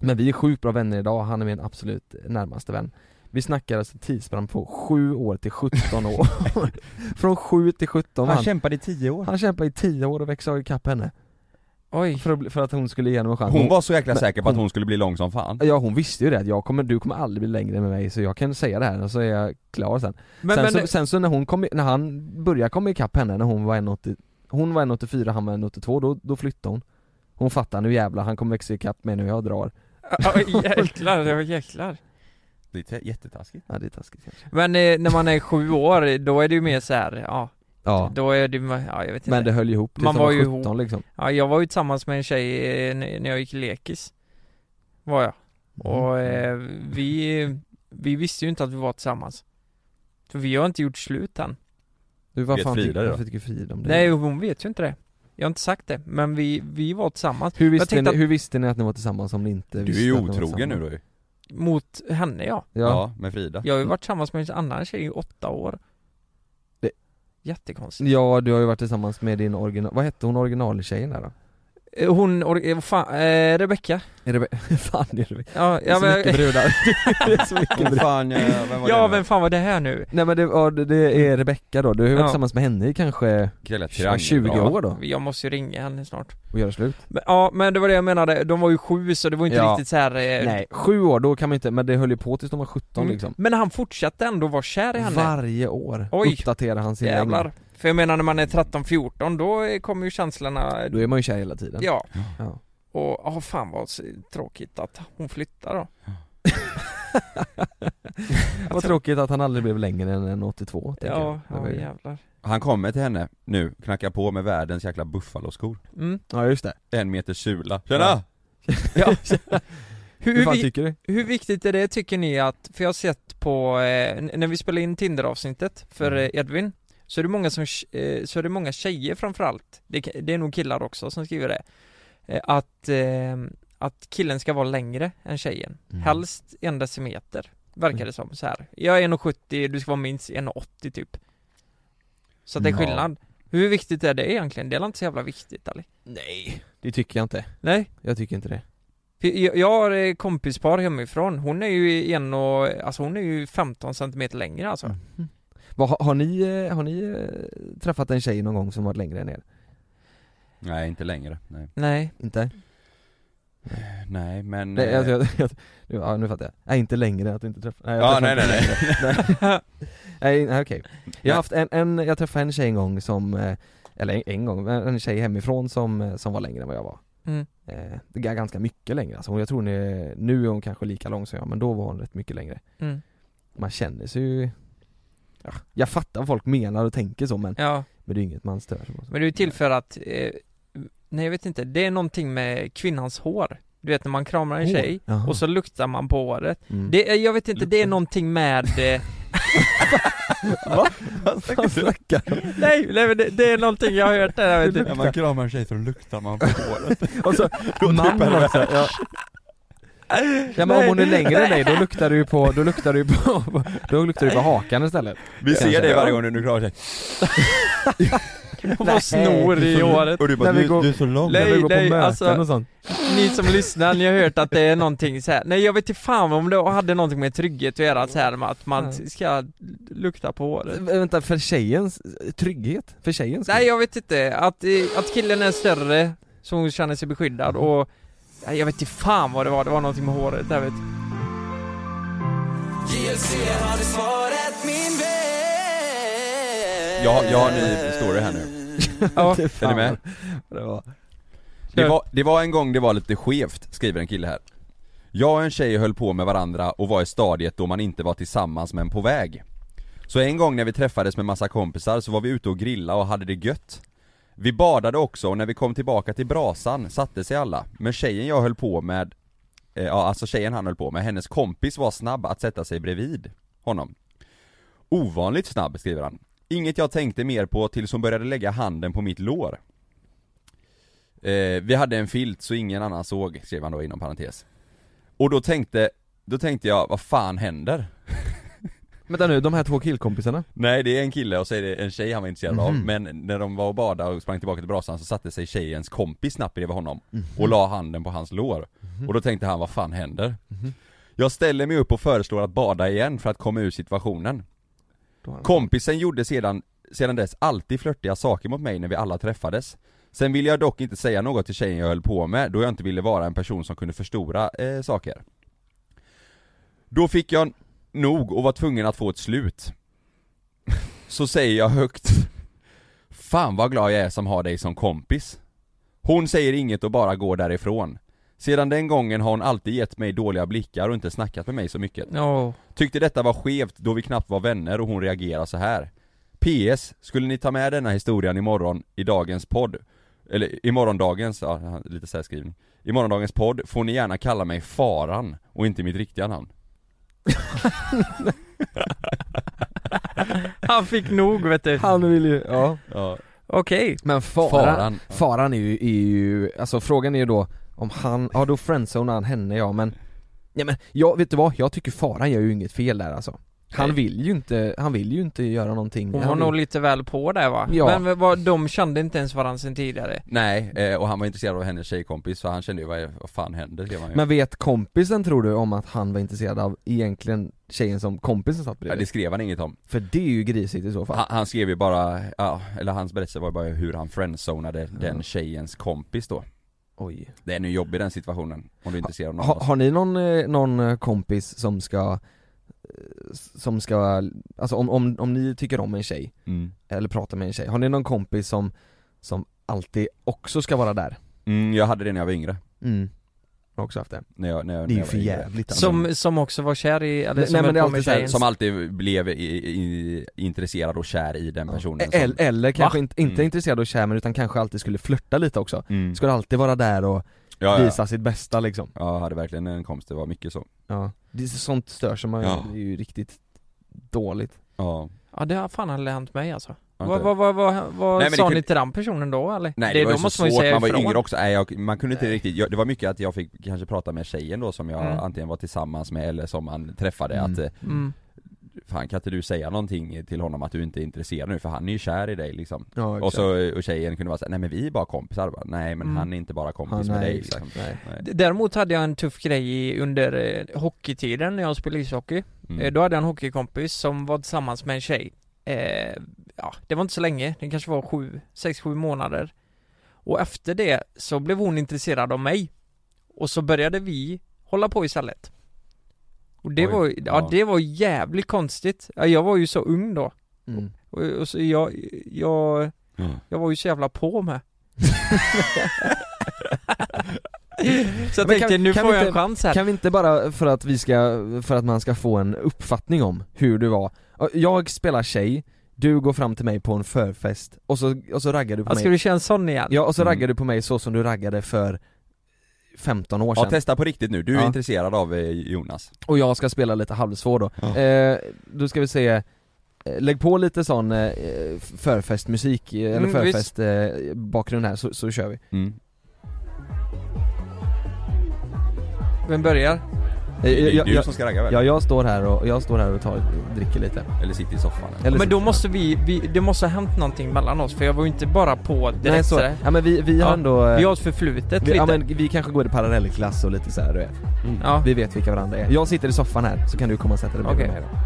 Men vi är sjukt bra vänner idag, han är min absolut närmaste vän Vi snackar alltså tidsspann på 7 år till 17 år Från 7 till 17 var
Han
han,
kämpade i tio år.
han kämpade i 10 år och växte ikapp henne
oj
för, att bli- för att hon skulle ge honom en chans
Hon var så jäkla
Men-
säker på att
hon-
hon skulle bli lång som fan.
Ja hon visste ju det att jag kommer, du kommer aldrig bli längre med mig så jag kan säga det här och så är jag klar sen
Men,
sen,
men
så, sen så när hon kom, i- när han började komma ikapp henne när hon var 1,80 Hon var 1,84, han var 1,82, då, då flyttade hon Hon fattar nu jävlar, han kommer växa ikapp mig nu, jag drar
oj, jäklar, ja, jäklar
Det är jättetaskigt.
Ja det är taskigt kanske
Men eh, när man är sju år, då är det ju mer så här, ja,
Ja,
då är det, ja jag vet inte
men det höll ihop tills
Man
man var,
var ju
17 liksom
Ja, jag var ju tillsammans med en tjej eh, n- när jag gick i lekis Var jag
Mm,
Och eh, vi, vi visste ju inte att vi var tillsammans För vi har inte gjort slut än
Du vad
Vet
fan
Frida
tycker,
det då?
varför tycker Frida om det?
Nej, hon vet ju inte det Jag har inte sagt det, men vi, vi var tillsammans
hur visste,
tänkte
ni,
att-
hur visste ni att ni var tillsammans om ni inte
Du är
visste
ju
att ni var
otrogen nu
tillsammans?
då ju.
Mot henne ja
Ja.
Ja,
med Frida.
Jag har ju varit tillsammans med en annan tjej i åtta år
Det-
Jättekonstigt
ja du har ju varit tillsammans med din original, vad hette hon originaltjejen där då?
Eh, Hon, or, eh, vad fan, eh, Rebecka
Är det, fan är det,
Ja,
det är
ja
så mycket
men,
brudar, det är så mycket
Åh,
brudar
fan, jag-
eh,
vem var
ja,
det?
vem fan var det här nu?
Nej men det, ja, det- det är Rebecka då, du har ju varit
Ja.
tillsammans med henne i kanske
Krilla triangel,
20
ja.
år då
Jag måste ju ringa henne snart
och göra slut
Men, ja men det var det jag menade, de var ju sju så det var inte
Ja.
riktigt så här. eh,
Nej, 7 år då kan man inte, men det höll ju på tills de var 17
mm.
liksom
Men han fortsatte ändå vara kär i henne
Varje år
Oj.
uppdaterar han sin längd
Jävlar För jag menar när man är 13-14 då eh, kommer ju känslorna eh,
Då är man ju kär hela tiden
Ja
Ja.
Och ja fan vad s- tråkigt att hon flyttar då
Vad tråkigt att han aldrig blev längre än en 82 tänker
alltså- Ja,
jag. Det var
ja
ju-
jävlar
Han kommer till henne nu, knackar på med världens jäkla buffaloskor.
mm.
ja just det
En meter sula. Tjena!
Ja.
ja.
Hur
hur,
fan
vi,
tycker du?
hur viktigt är det tycker ni att, för jag har sett på, eh, n- när vi spelade in Tinder-avsnittet för eh, Edvin Så är det många som, eh, så är det många tjejer framförallt det, ka- det är nog killar också som skriver det eh, Att, eh, att killen ska vara längre än tjejen
Mm.
Helst en decimeter Verkar det som så här. Jag är 1,70, du ska vara minst 1,80 typ Så att det är
Ja.
skillnad Hur viktigt är det egentligen? Det är inte så jävla viktigt Ali?
Nej Det tycker jag inte,
Nej
jag tycker inte det
För Jag jag har eh, kompispar hemifrån, hon är ju en och, alltså hon är ju 15 centimeter längre alltså
Mhm. Vad, har, har ni, eh, har ni eh, träffat en tjej någon gång som varit längre än er?
Nej, inte längre. Nej,
Nej,
Inte?
nej men...
Nej,
eh,
alltså, jag, jag, ja nu fattar jag, nej inte längre att du inte träffat, nej jag
Ja,
träffar
nej,
inte
nej,
längre. nej Nej, nej, okej Jag har haft en, en, jag träffade en tjej en gång som, eh, eller en, en gång, en en tjej hemifrån som, eh, som var längre än vad jag var
Mm.
eh, Det är ganska mycket längre alltså, hon- jag tror hon är, nu är hon kanske lika lång som jag men då var hon rätt mycket längre
mm.
Man känner sig ju, ja, jag fattar vad folk menar och tänker så men,
ja,
men det är inget man stör sig på
men det är ju till för att eh, Nej jag vet inte, det är någonting med kvinnans hår Du vet när man kramar en
Hår.
tjej
Jaha.
och så luktar man på håret
Mm.
det, är- Jag vet inte, det är någonting med... eh,
Mm.
Vad snackar du om?
nej, nej men det, det är någonting jag har hört där, jag vet inte.
När man kramar en tjej så luktar man på håret.
Och så, man också, ja. Ja men om hon är längre än dig, då luktar du ju på, då luktar du ju på, då luktar du på hakan istlet
Vi ser dig varje gång du kramar en tjej.
Hon får snor i håret
Och du bara,
När vi
du,
går-
du är så lång.
Nej,
När vi går på
nej,
möten
alltså-
och sånt
Ni som lyssnar, ni har hört att det är någonting så här. nej jag vet inte fan om det hade någonting med trygghet att göra så här med att man
Nej.
ska lukta på håret
Vä- Vänta, för tjejens trygghet? För tjejens skull?
Nej jag vet inte, att, eh, att killen är större så hon känner sig beskyddad
Mm.
och Nej, jag vet inte fan vad det var, det var någonting med håret där vet du.
JLC hade svaret min vän
Jag, jag har en ny story här nu.
Ja,
Är ni med?
Typ Det var.
Det var, det var en gång det var lite skevt, skriver en kille här. Jag och en tjej höll på med varandra och var i stadiet då man inte var tillsammans men på väg. Så en gång när vi träffades med massa kompisar så var vi ute och grilla och hade det gött. Vi badade också och när vi kom tillbaka till brasan satte sig alla, men tjejen jag höll på med, eh, ja alltså tjejen han höll på med, hennes kompis var snabb att sätta sig bredvid honom. Ovanligt snabb, skriver han. Inget jag tänkte mer på tills hon började lägga handen på mitt lår. Eh, vi hade en filt så ingen annan såg, skrev han då inom parentes. Och då tänkte, då tänkte jag, vad fan händer?
Vänta nu, de här två killkompisarna?
Nej det är en kille och så är det en tjej han var intresserad av,
Mhm.
men när de var och badade och sprang tillbaka till brasan så satte sig tjejens kompis snabbt bredvid honom och la handen på hans lår. Och då tänkte han, vad fan händer? Jag ställer mig upp och föreslår att bada igen för att komma ur situationen.
Då har de-
Kompisen gjorde sedan, sedan dess alltid flörtiga saker mot mig när vi alla träffades. Sen ville jag dock inte säga något till tjejen jag höll på med, då jag inte ville vara en person som kunde förstora eh, saker. Då fick jag nog och var tvungen att få ett slut. Så säger jag högt Fan vad glad jag är som har dig som kompis. Hon säger inget och bara går därifrån. Sedan den gången har hon alltid gett mig dåliga blickar och inte snackat med mig så mycket.
Åh.
Tyckte detta var skevt då vi knappt var vänner och hon reagerar så här. PS, skulle ni ta med denna historien imorgon i dagens podd? Eller i morgondagens, ja, lite särskrivning. I morgondagens podd får ni gärna kalla mig Faran och inte mitt riktiga namn.
Han fick nog vet du
Han vill ju, ja
Ja,
Okej,
Men faran, faran,
Faran.
är, ju, är ju, alltså frågan är ju då om han, ja då friendzonar han henne ja men Ja men, jag, vet du vad? Jag tycker Faran gör ju inget fel där alltså Han
Nej.
vill ju inte, han vill ju inte göra någonting
hon
Han
var nog
vill-
lite väl på där va?
Ja.
Men vad, de kände inte ens varandra sen tidigare
Nej, eh, och han var intresserad av hennes tjejkompis så han kände ju vad, vad fan händer skrev han ju.
Men vet kompisen tror du om att han var intresserad av egentligen tjejen som kompisen satt
ja,
bredvid?
det skrev han inget om.
För det är ju grisigt i så fall
Han, han skrev ju bara, ja, eller hans berättelse var ju bara hur han friendzonade den tjejens kompis då.
Oj
Det är nu jobbig den situationen, om du inte ser honom.
ha, Har ni någon, eh, någon eh, kompis som ska, eh, som ska, alltså om, om, om ni tycker om en tjej
Mm.
eller prata med en tjej, har ni någon kompis som, som alltid också ska vara där?
Mm, jag hade det när jag var yngre.
Mm. Jag har också haft det.
När jag, när jag,
Det
när
är ju
jag
för
var yngre.
jävligt alltså.
Som, som också var kär i, eller
Nej,
som
men
höll
det är
på med
alltid så här,
tjejen
Som alltid blev i, i, intresserad och kär i den
Ja.
personen som,
Eller, Eh, eller kanske
Va?
inte, inte
Mm.
intresserad av kärmen utan kanske alltid skulle flörta lite också.
mm.
Skulle alltid vara där och
ja, ja.
visa sitt bästa liksom.
ja, jag hade verkligen en kompis, det var mycket så
Ja. Det är sånt stör som man
Ja.
det är ju riktigt dåligt.
Ja,
Ja det har fan aldrig hänt mig alltså
har
Vad,
inte-
vad, vad, vad, vad
Nej, men
sa
det kunde-
ni till den personen då eller?
Nej det, var
då
ju så svårt, man var
ifrån.
yngre också, nej jag, man kunde inte
Nej.
riktigt, jag, det var mycket att jag fick kanske prata med tjejen då som jag
Mm.
antingen var tillsammans med eller som man träffade
Mm.
att eh,
mm.
Fan kan inte du säga någonting till honom att du inte är intresserad nu för han är ju kär i dig liksom
Ja,
Och så och tjejen kunde vara såhär, nej men vi är bara kompisar Jag bara, Nej men
Mm.
han är inte bara kompis
ja,
med
nej,
dig
exakt,
liksom.
nej.
nej.
D- Däremot hade jag en tuff grej i- under eh, hockeytiden när jag spelade ishockey
Mm.
Eh, Då hade jag en hockeykompis som var tillsammans med en tjej eh, Ja, det var inte så länge, det kanske var sju, sex, sju månader Och efter det så blev hon intresserad av mig Och så började vi hålla på istället Och det
Oj,
var ju- ja
ja.
det var jävligt konstigt Ja, Jag var ju så ung då
Mm.
Och, och så jag, jag,
Mm.
jag var ju så jävla på med Så jag
Men kan-
tänkte nu
kan
får
vi
jag en
inte-
chans här
Kan vi inte bara för att vi ska, för att man ska få en uppfattning om hur du var Jag spelar tjej, du går fram till mig på en förfest och så, och så raggar du på
ja,
mig
Ska du känna sån igen?
Ja och så
Mm.
raggar du på mig så som du raggade för 15 år
Ja,
sedan
testa på riktigt nu. Du är
Ja.
intresserad av eh, Jonas.
och jag ska spela lite halvsvår då.
Ja.
Eh, då ska vi se, eh, lägg på lite sån eh, f- förfestmusik, eh, eller
Mm,
förfest eh, bakgrund här så, så kör vi. Eh,
Mm.
Vem börjar?
Det är
Eh,
ju
jag,
du
jag,
som ska ragga väl?
ja, jag står här och, jag står här och tar, dricker lite.
Eller sitter i soffan.
Eller
Men
så-
då måste vi, vi, det måste ha hänt någonting mellan oss för jag var ju inte bara på direkt
Nej, så,
sådär.
ja men vi, vi har
Ja,
ändå, eh,
Vi har ett förflutet
vi,
lite.
ja, men, vi kanske går i parallellklass och lite så här, du vet.
Mm.
ja.
Vi vet vilka varandra är. Jag sitter i soffan här, så kan du komma och sätta dig bredvid
Okej.
mig då.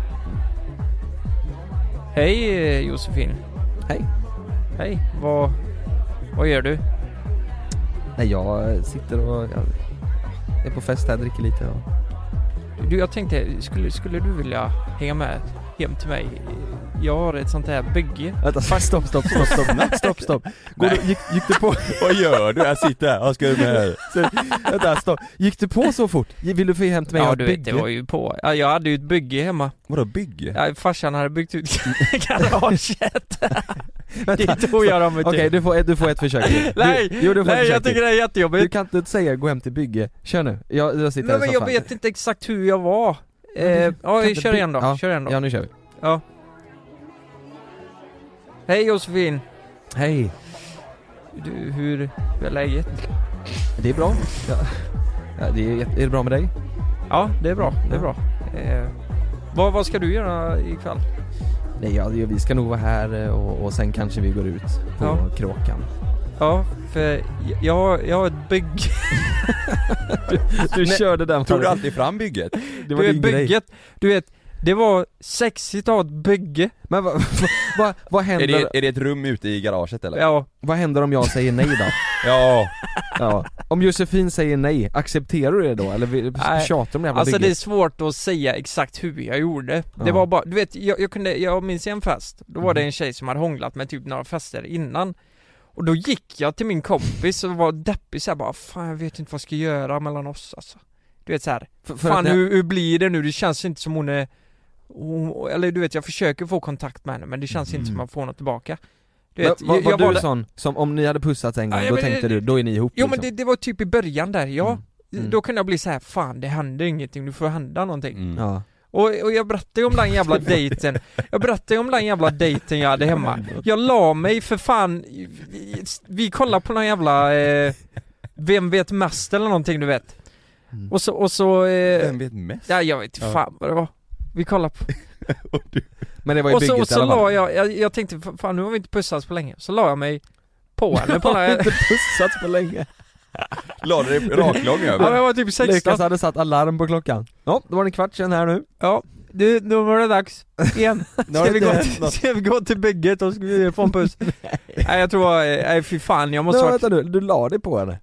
Hej eh, Josefin.
Hej.
Hej. Vad, vad gör du?
Nej jag eh, sitter och, jag är på fest här, dricker lite och
Du, jag tänkte, skulle, skulle du vilja hänga med hem till mig? Jag har ett sånt här bygge.
Vänta, stopp, stopp, stopp, stopp, stopp, nej, stopp, stopp. Går du, gick, gick du på,
Vad gör du? Jag sitter här. Vad ska du med här?
så, vänta, stopp. Gick du på så fort? Vill du få hem till mig? Jag
Ja
har
du
ett
vet, det
bygge.
var ju på. Ja, jag hade ju ett bygge hemma.
Vadå bygge?
Ja, farsan hade byggt ut garaget.
Vänta,
det tog jag dem
Okej, du, får, du får ett försök till.
Nej,
du, jo, du får ett
Nej jag
försök
tycker
till.
det är
Du
jättejobbigt.
kan inte säga gå hem till bygge, kör nu. Jag, jag sitter
Nej
här
men
i
jag
soffan.
vet inte exakt hur jag var. Eh,
Men du
ja,
kan inte
kör
by-
igen då.
Ja,
Kör igen då.
Ja, nu kör vi.
Hej Josefin.
Hej.
Du, hur hur är läget?
Det är bra. Ja. Ja, det är, jätte- är det bra med dig?
Ja, det är bra. Det är
Ja.
bra. Eh, vad, vad ska du göra ikväll?
Nej, ja, det- vi ska nog vara här eh, och, och sen kanske vi går ut på
Ja.
kråkan.
Ja, för jag, jag har ett bygge.
Du körde den
Tog du alltid fram bygget?
Det
Du vet bygget. Du vet, det var sexigt att ha ett bygge.
Men vad, vad, vad,
Är
händer,
det, är det ett rum ute i garaget eller?
Ja,
vad händer om jag säger nej då?
Ja.
Ja. Om Josefin säger nej, accepterar du det då? Eller vi-
Nej.
tjatar om det jävla
alltså det är
bygget?
svårt att säga exakt hur jag gjorde. Det
Ja.
var bara, du vet, jag, jag kunde, jag minns en fest. Då var det
Mhm.
en tjej som hade hånglat med typ några fester innan. Och då gick jag till min kompis och var deppig såhär bara, fan jag vet inte vad jag ska göra mellan oss alltså. Du vet såhär,
För, för
Fan
att det-
hur, hur blir det nu? Det känns inte som hon är hon, Eller du vet jag försöker få kontakt med henne men det känns inte som
Mm.
att få något tillbaka Du
Men
vet,
var,
jag,
var
jag
du
var där-
sån, som om ni hade pussat en gång,
Ja,
då
men det-
tänkte du, då är ni ihop
Jo men det,
liksom.
det var typ i början där, ja
Mm. Mm.
Då kunde jag bli så här: fan det händer ingenting, nu får hända någonting
Mm.
Ja.
och, och jag berättade ju om den jävla dejten Jag berättade ju om den jävla dejten jag hade hemma Jag la mig för fan i- i- Vi kollade på någon jävla eh, Vem vet mest eller någonting du vet
Mm.
Och så, och så eh,
Vem vet mest?
Ja jag vet
Ja.
fan vad det var Vi kollade på
Men det var ju
och så,
bygget
och
i
så
alla fall.
la jag, jag, jag tänkte "Fa- fan nu har vi inte pussats på länge, så la jag mig på henne på den
har inte
här,
pussats på länge.
La du dig raklång
ja, men
över?
jag var typ 16
Lukas hade satt alarm på klockan. Ja, då var det en kvart sen här nu.
Ja, du, nu var det dags igen. Ska vi, gå
det hänt
till,
något.
ska vi gå till bygget och ska vi få en puss? Nej jag tror, eh, nej fy fan jag måste
Nej,
varit,
vänta nu, du la dig på henne.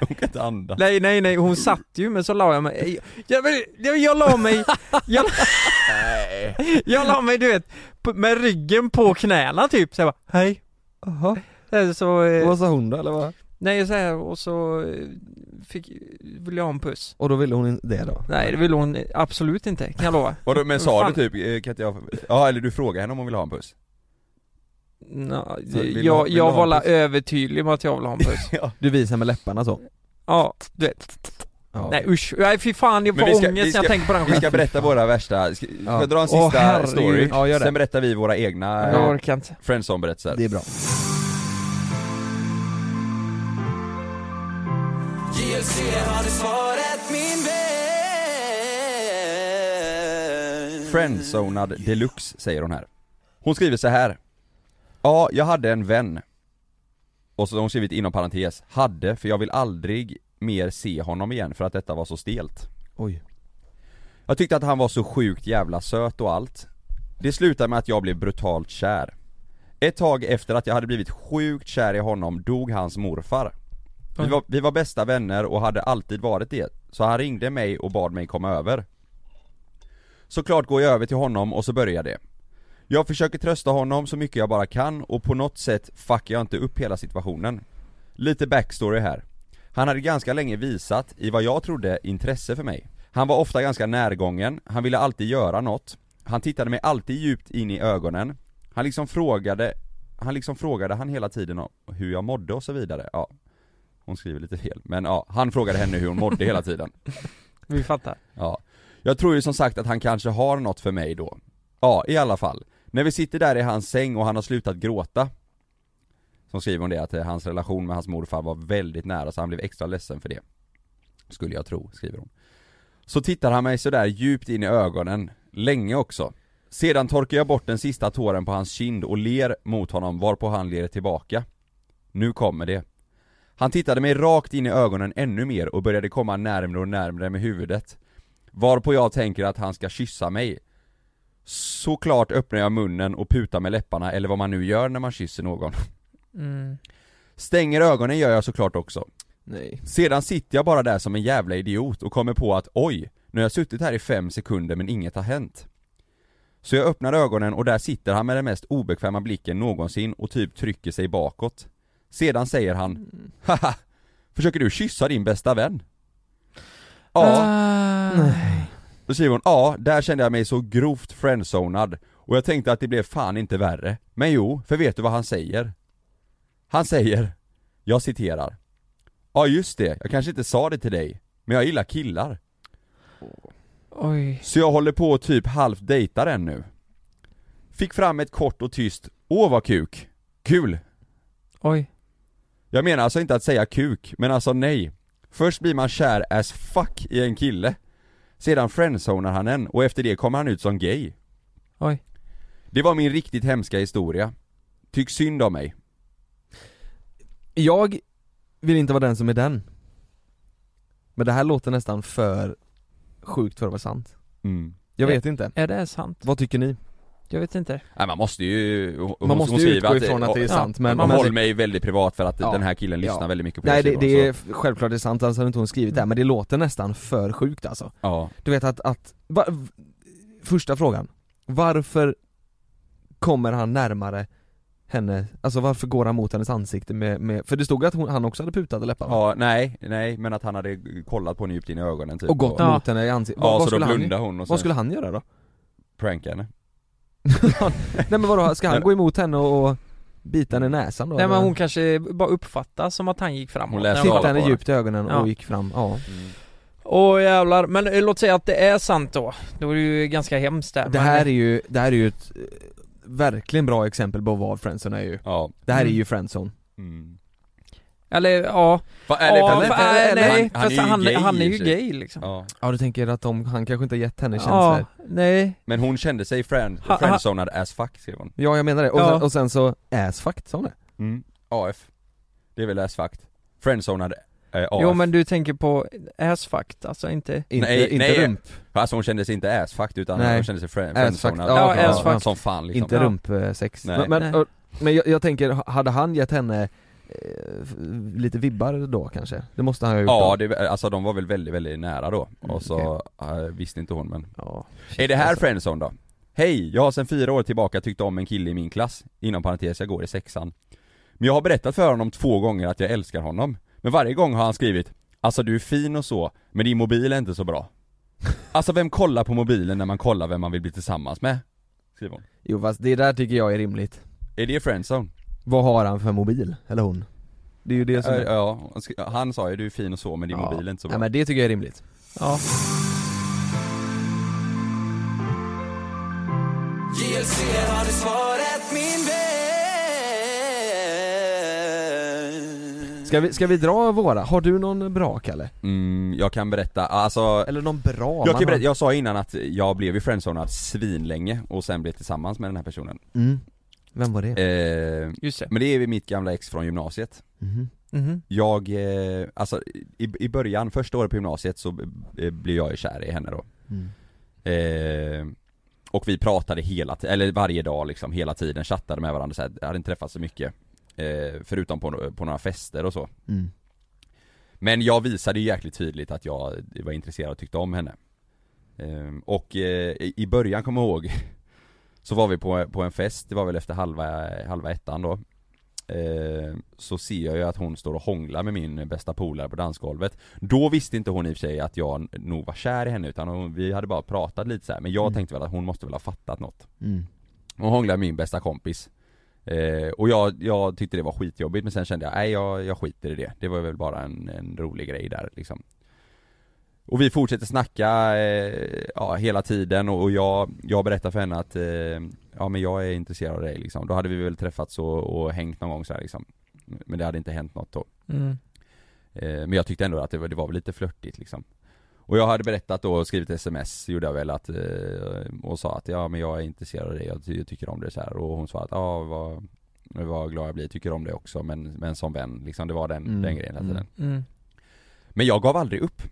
Hon kan inte andas.
nej nej nej hon satt ju men så la jag mig, jag, jag, jag, jag la mig, jag, jag la mig du vet, på- med ryggen på knäna typ så jag bara, hej.
Jaha.
Eh, Så, eh,
Vad sa hon då eller vad?
nej så här och så eh, fick, ville jag ha en puss.
Och då ville hon in- det då?
Nej det vill hon absolut inte, kan jag lova
Vadå, men sa
Fan.
du typ, eh, kan inte jag, ja eller du frågade henne om hon ville ha en puss?
Nå,
du- vill du ha-
Jag,
vill du ha
jag
en
var la
puss?
övertydlig med att jag vill ha en puss
Ja.
Du visar med läpparna så?
Ja, du vet
Ja.
Nej usch, nej fy fan jag
Men
får
vi ska-
ångest
vi
när jag
ska-
tänker på den
Vi ska
skiten.
berätta våra värsta, ska, ska jag dra en
Åh,
sista
herregud.
story?
Ja, gör det.
Sen berättar vi våra egna
Jag
eh,
orkar inte
friendzone-berättelser
Det är bra.
JLC har du svaret min vän
Friendzonad deluxe säger hon här Hon skriver så här Ja, jag hade en vän Och så har hon skrivit inom parentes, hade, för jag vill aldrig mer se honom igen för att detta var så stelt
Oj.
Jag tyckte att han var så sjukt jävla söt och allt Det slutade med att jag blev brutalt kär Ett tag efter att jag hade blivit sjukt kär i honom dog hans morfar Vi var, vi var bästa vänner och hade alltid varit det, så han ringde mig och bad mig komma över Såklart går jag över till honom och så börjar det Jag försöker trösta honom så mycket jag bara kan och på något sätt fuckar jag inte upp hela situationen Lite backstory här han hade ganska länge visat, i vad jag trodde, intresse för mig. Han var ofta ganska närgången, han ville alltid göra något. Han tittade mig alltid djupt in i ögonen. Han liksom frågade, han liksom frågade han hela tiden om hur jag mådde och så vidare. Ja. Hon skriver lite fel, men ja, han frågade henne hur hon mådde hela tiden
Vi fattar.
Ja, jag tror ju som sagt att han kanske har något för mig då Ja, i alla fall När vi sitter där i hans säng och han har slutat gråta Som skriver hon det, att eh, hans relation med hans morfar var väldigt nära så han blev extra ledsen för det Skulle jag tro, skriver hon Så tittar han mig sådär djupt in i ögonen, länge också Sedan torkar jag bort den sista tåren på hans kind och ler mot honom varpå han ler tillbaka Nu kommer det Han tittade mig rakt in i ögonen ännu mer och började komma närmre och närmre med huvudet Varpå jag tänker att han ska kyssa mig Såklart öppnar jag munnen och putar med läpparna eller vad man nu gör när man kysser någon
Mm.
Stänger ögonen gör jag såklart också
Nej
Sedan sitter jag bara där som en jävla idiot och kommer på att oj, nu har jag suttit här i fem sekunder men inget har hänt Så jag öppnar ögonen och där sitter han med den mest obekväma blicken någonsin och typ trycker sig bakåt Sedan säger han Haha! Försöker du kyssa din bästa vän? Ja,
Ah.
Då skriver hon ja, där kände jag mig så grovt friendzonad och jag tänkte att det blev fan inte värre. Men jo, för vet du vad han säger? Han säger, jag citerar Ja just det, jag kanske inte sa det till dig, men jag gillar killar.
Oj.
Så jag håller på och typ halvt dejtar en nu. Fick fram ett kort och tyst, åh vad kuk, kul.
Oj.
Jag menar alltså inte att säga kuk, men alltså nej. Först blir man kär as fuck i en kille. Sedan friendzonar han en och efter det kommer han ut som gay.
Oj.
Det var min riktigt hemska historia. Tyck synd om mig.
Jag vill inte vara den som är den Men det här låter nästan för sjukt för att vara sant
Mm.
Jag vet inte,
Är det sant?
vad tycker ni?
Jag vet inte.
Nej Äh, man måste ju... hon-
Man
hon
måste ju
skriver
utgå ifrån att det är
ja,
sant men,
Man
men
håller mig väldigt privat för att
Ja.
den här killen lyssnar
Ja.
väldigt mycket på
Nej
oss
det,
idag,
det är
så-
självklart det är sant, annars hade inte hon skrivit det här, men det låter nästan för sjukt alltså
Ja.
Du vet att, att va, v- första frågan, varför kommer han närmare henne, alltså varför går han mot hennes ansikte med, med för det stod att hon, han också hade putade läppar va?
ja, nej, nej men att han hade kollat på henne djupt in i ögonen typ
och gått
Ja.
mot henne i ansiktet,
Ja,
vad,
så
skulle
då
han,
blundade hon och sen
vad skulle han göra då?
prankade henne
Nej men vadå, ska han
Nej.
gå emot henne och bita henne i näsan då?
Nej men
eller?
hon kanske bara uppfattar som att han gick framåt.
Hon
när
läste
kollade
Tittade
kollar
henne
på
djupt i ögonen
Ja.
och gick fram, ja
Åh jävlar, men eh, låt säga att det är sant då. Då är det ju ganska hemskt där.
Det här är ju, det här är ju ett eh, verkligen bra exempel på vad friendzone är ju
Ja.
Det här är
Mm.
ju friendzone
Mm.
Eller ja,
Va,
ja
eller,
för,
eller,
nej,
eller-
nej,
han, han, är
fast
ju
han,
gay,
han är
i
ju
och för sig.
gay liksom.
Ja.
Ja du tänker att de, han kanske inte har gett henne känslor?
Ja, nej.
Men hon kände sig friend,
Ha- ha-
friendzonad as fuck skrev hon
Ja jag menar det, och,
Ja.
sen, och sen så, ass fucked sa hon det?
mm. AF Det är väl as fuck Friendzonad eh, AF
Jo men du tänker på ass fucked, alltså inte...
Inte,
Nej,
inte
nej.
rump,
Alltså hon kände sig inte asfucked utan
Nej.
hon kände sig fri-
Assfucked.
friendzonad
Ja,
Ja, assfucked.
Som fan liksom
inte
Ja.
rumpsex
Nej.
Men, men,
Nej.
och, men jag, jag tänker, hade han gett henne eh, f- lite vibbar då kanske? Det måste han ju ha gjort
Ja,
då.
det, alltså de var väl väldigt, väldigt nära då,
Mm,
och så eh, visste inte hon men
ja shit,
Är det här
alltså.
friendzone då? Hej, jag har sedan fyra år tillbaka tyckt om en kille i min klass, inom parentes jag går i sexan Men jag har berättat för honom två gånger att jag älskar honom Men varje gång har han skrivit 'Alltså du är fin och så, men din mobil är inte så bra' Alltså vem kollar på mobilen när man kollar vem man vill bli tillsammans med? Skriver hon
Jo fast det där tycker jag är rimligt
Är det friendzone?
Vad har han för mobil? Eller hon? Det är ju det som
Äh,
är...
ja, han sk- han sa ju 'Du är fin och så, men din
Ja.
mobil är inte så bra'
Nej men det tycker jag är rimligt
Ja.
JLC har du svaret min vän
Ska vi, ska vi dra våra? Har du någon bra Kalle?
mm, Jag kan berätta, alltså
Eller någon bra?
jag, kan
man
berätta,
har?
jag sa innan att jag blev ju friendzonad svinlänge och sen blev tillsammans med den här personen
Mm. Vem var det?
eh,
Just det.
Men det är ju mitt gamla ex från gymnasiet
Mhm.
Mhm.
Jag, eh, alltså i, i början, första året på gymnasiet så eh, blev jag ju kär i henne då
Mm.
eh, Och vi pratade hela tiden, eller varje dag liksom, hela tiden, chattade med varandra så här, hade inte träffats så mycket eh, Förutom på, på några fester och så
Mm.
Men jag visade ju jäkligt tydligt att jag var intresserad och tyckte om henne Ehm, Och eh, i- i början, kommer jag ihåg Så var vi på, på en fest, det var väl efter halva, halva ettan då Ehm, Så ser jag ju att hon står och hånglar med min bästa polare på dansgolvet Då visste inte hon i och för sig att jag nog var kär i henne utan hon, vi hade bara pratat lite så här. Men jag
Mm.
tänkte väl att hon måste väl ha fattat något
Mm.
Hon hånglade med min bästa kompis Eh, och jag, jag tyckte det var skitjobbigt men sen kände jag, nej jag, jag skiter i det. Det var väl bara en, en rolig grej där liksom. Och vi fortsätter snacka eh, ja, hela tiden och, och jag, jag berättar för henne att eh, ja men jag är intresserad av dig liksom. Då hade vi väl träffats och, och hängt någon gång så här, liksom. Men det hade inte hänt något då.
Mm.
Eh, Men jag tyckte ändå att det var, det var väl lite flörtigt liksom Och jag hade berättat då, och skrivit sms gjorde jag väl att, eh, och sa att ja men jag är intresserad av dig, jag, ty- jag tycker om dig så här. och hon sa att ja vad, vad glad jag blir, jag tycker om dig också men, men som vän liksom, det var den,
Mm,
den grejen hela
mm.
tiden
Mm.
Men jag gav aldrig upp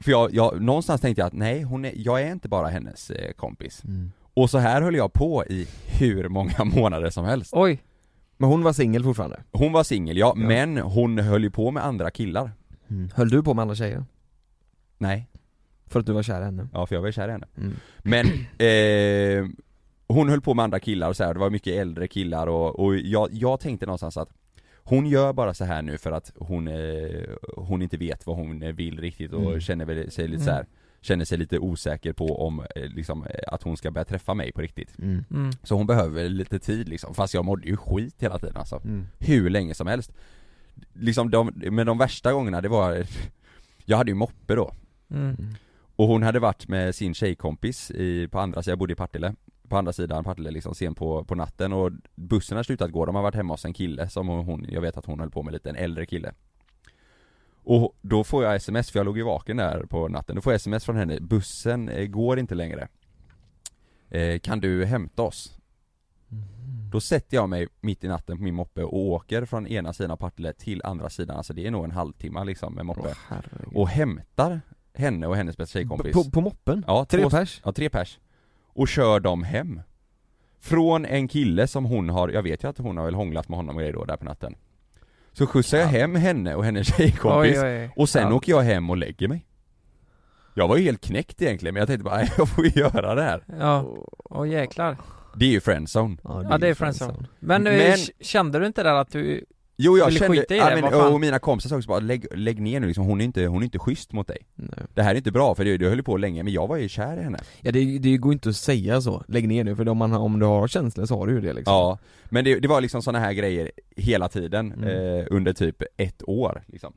För jag, jag någonstans tänkte jag att nej, hon är, jag är inte bara hennes eh, kompis
Mm.
Och så här höll jag på i hur många månader som helst
Oj,
Men hon var singel fortfarande?
Hon var singel ja,
Ja.
men hon höll ju på med andra killar
Mm. Höll du på med andra tjejer?
Nej,
För att du var kär i henne?
ja för jag var ju kär i henne
Mm.
Men eh, hon höll på med andra killar och så här, det var mycket äldre killar och, och jag, jag tänkte någonstans att hon gör bara så här nu för att hon, eh, hon inte vet vad hon eh, vill riktigt och
Mm.
känner väl sig lite
Mm.
så här, känner sig lite osäker på om eh, liksom, eh, att hon ska börja träffa mig på riktigt.
Mm.
mm.
Så hon behöver väl lite tid liksom, fast jag mådde ju skit hela tiden alltså
Mm.
hur länge som helst Liksom de, men de värsta gångerna det var Jag hade ju moppe då
Mm.
Och hon hade varit med sin tjejkompis i, på andra sidan, jag bodde i Partille På andra sidan Partille liksom sen på, på natten och bussen hade slutat gå, de har varit hemma hos en kille som hon, jag vet att hon höll på med lite, en äldre kille Och då får jag sms, för jag låg ju vaken där på natten, då får jag sms från henne, bussen eh, går inte längre eh, Kan du hämta oss? Då sätter jag mig mitt i natten på min moppe och åker från ena sidan av Partille till andra sidan, alltså det är nog en halvtimme liksom med moppe
Åh, herregud.
Och hämtar henne och hennes bästa tjejkompis
På, på moppen?
Ja,
Tre
två-
pers?
Ja, tre pers. Och kör dem hem. Från en kille som hon har, jag vet ju att hon har väl hånglat med honom och grejer då där på natten. Så skjutsar jag hem henne och hennes tjejkompis.
Oj, oj, oj.
Och sen
ja.
åker jag hem och lägger mig. Jag var ju helt knäckt egentligen men jag tänkte bara, "Nej, jag får ju göra det här.
Ja, åh jäklar.
Det är ju friendzone.
Ja, det är friendzone. Men, eh,
Men-
k- kände du inte där att du,
Jo jag
Ville
kände,
skita i
ja,
det, vad
men,
fan.
och mina kompisar sa också bara, lägg, lägg ner nu liksom, hon är, inte, hon är inte schysst mot dig.
Nej.
Det här är inte bra för du, du höll ju på länge men jag var ju kär i henne.
Ja det, det går inte att säga så, lägg ner nu för om, man, har- om du har känslor så har du ju det liksom
Ja, men det, det var liksom såna här grejer hela tiden
Mm.
eh, under typ ett år liksom.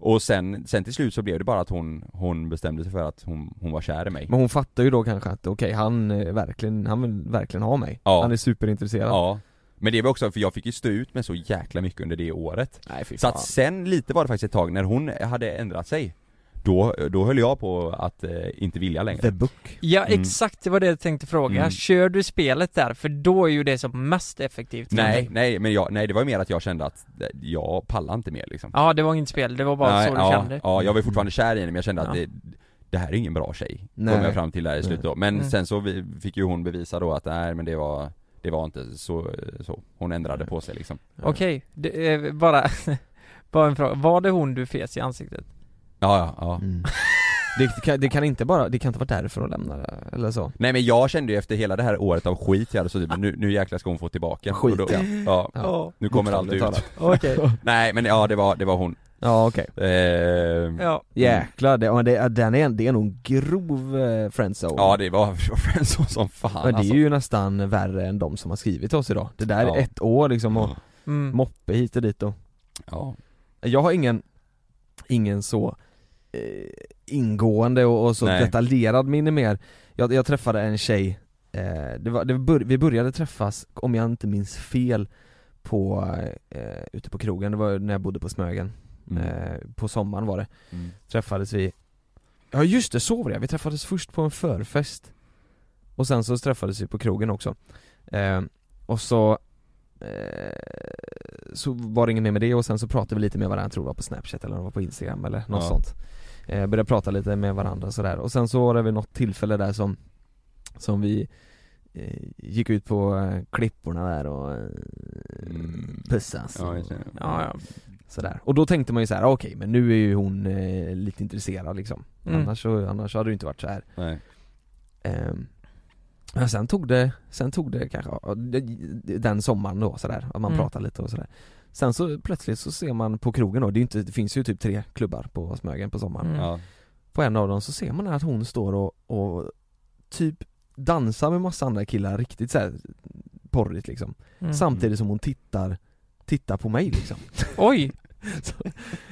Och sen, sen till slut så blev det bara att hon, hon bestämde sig för att hon, hon var kär i mig.
Men hon fattar ju då kanske att okej han eh, verkligen, han vill verkligen ha mig
Ja.
Han är superintresserad
Ja. Men det var också, för jag fick ju stå ut med så jäkla mycket under det året.
Nej fy
Så att sen lite var det faktiskt ett tag när hon hade ändrat sig, då, då höll jag på att eh, inte vilja längre.
The book
ja
Mm.
exakt det var det jag tänkte fråga,
Mm.
kör du spelet där? För då är ju det som mest effektivt
Nej, nej, men jag, nej det var ju mer att jag kände att eh, jag pallar inte mer liksom.
Ja det var inget spel, det var bara
Nej,
så du
ja,
kände Mm.
Ja, jag var ju fortfarande kär i henne men jag kände att
Ja.
det, det här är ingen bra tjej,
Nej.
kom jag fram till där i slutet då. Men
Mm.
sen så vi, fick ju hon bevisa då att nej men det var, det var inte så, så. hon ändrade på sig liksom
Okej, det är bara, bara en fråga, var det hon du fes i ansiktet?
Ja, ja, ja.
mm. det, kan, det kan inte bara, det kan inte vara därför hon lämnar det, eller så
Nej men jag kände ju efter hela det här året av skit jag hade suttit med, nu, nu jäklar ska hon få tillbaka
Skit,
Och då,
ja.
ja.
Ja.
Nu kommer allt ut
Bokstavligt talat.
Okej,
Nej men ja det var, det var hon
Ja okej,
eh,
Mm.
ja.
ja
jäklar, det, ja, det, ja, den är, det är nog en grov eh, friendzone
det var friendzone som fan
Men det
alltså.
är ju nästan värre än de som har skrivit till oss idag Det där
Ja.
är ett år liksom och
mm.
moppe hit och dit och
ja.
Jag har ingen, ingen så eh, ingående och, och så
Nej.
detaljerad minne mer jag, jag träffade en tjej, eh, det var, det bör, vi började träffas, om jag inte minns fel, på, eh, ute på krogen, det var när jag bodde på Smögen,
Mm.
eh, på sommaren var det,
Mm.
träffades vi Ja just det, så var det vi träffades först på en förfest Och sen så träffades vi på krogen också eh, Och så eh, Så var det inget mer med det och sen så pratade vi lite med varandra, jag tror det var på snapchat eller om det var på instagram eller något
Ja.
sånt eh, Började prata lite med varandra sådär och sen så var det väl något tillfälle där som Som vi eh, Gick ut på eh, klipporna där och eh,
Mm.
pussas
Ja,
och,
just det.
Ja, ja.
Sådär. Och då tänkte man ju så här: okej men nu är ju hon eh, lite intresserad liksom
Mm.
annars, så, annars hade det ju inte varit så här.
Nej.
Ehm, Men sen tog det, sen tog det kanske, ja, det- den sommaren då sådär, att man
Mm.
pratade lite och sådär Sen så plötsligt så ser man på krogen då, det, är ju inte, det finns ju typ tre klubbar på Smögen på sommaren
Mm.
Ja.
På en av dem så ser man att hon står och, och typ dansar med massa andra killar riktigt såhär porrigt liksom.
Mm.
Samtidigt som hon tittar, tittar på mig liksom.
Oj,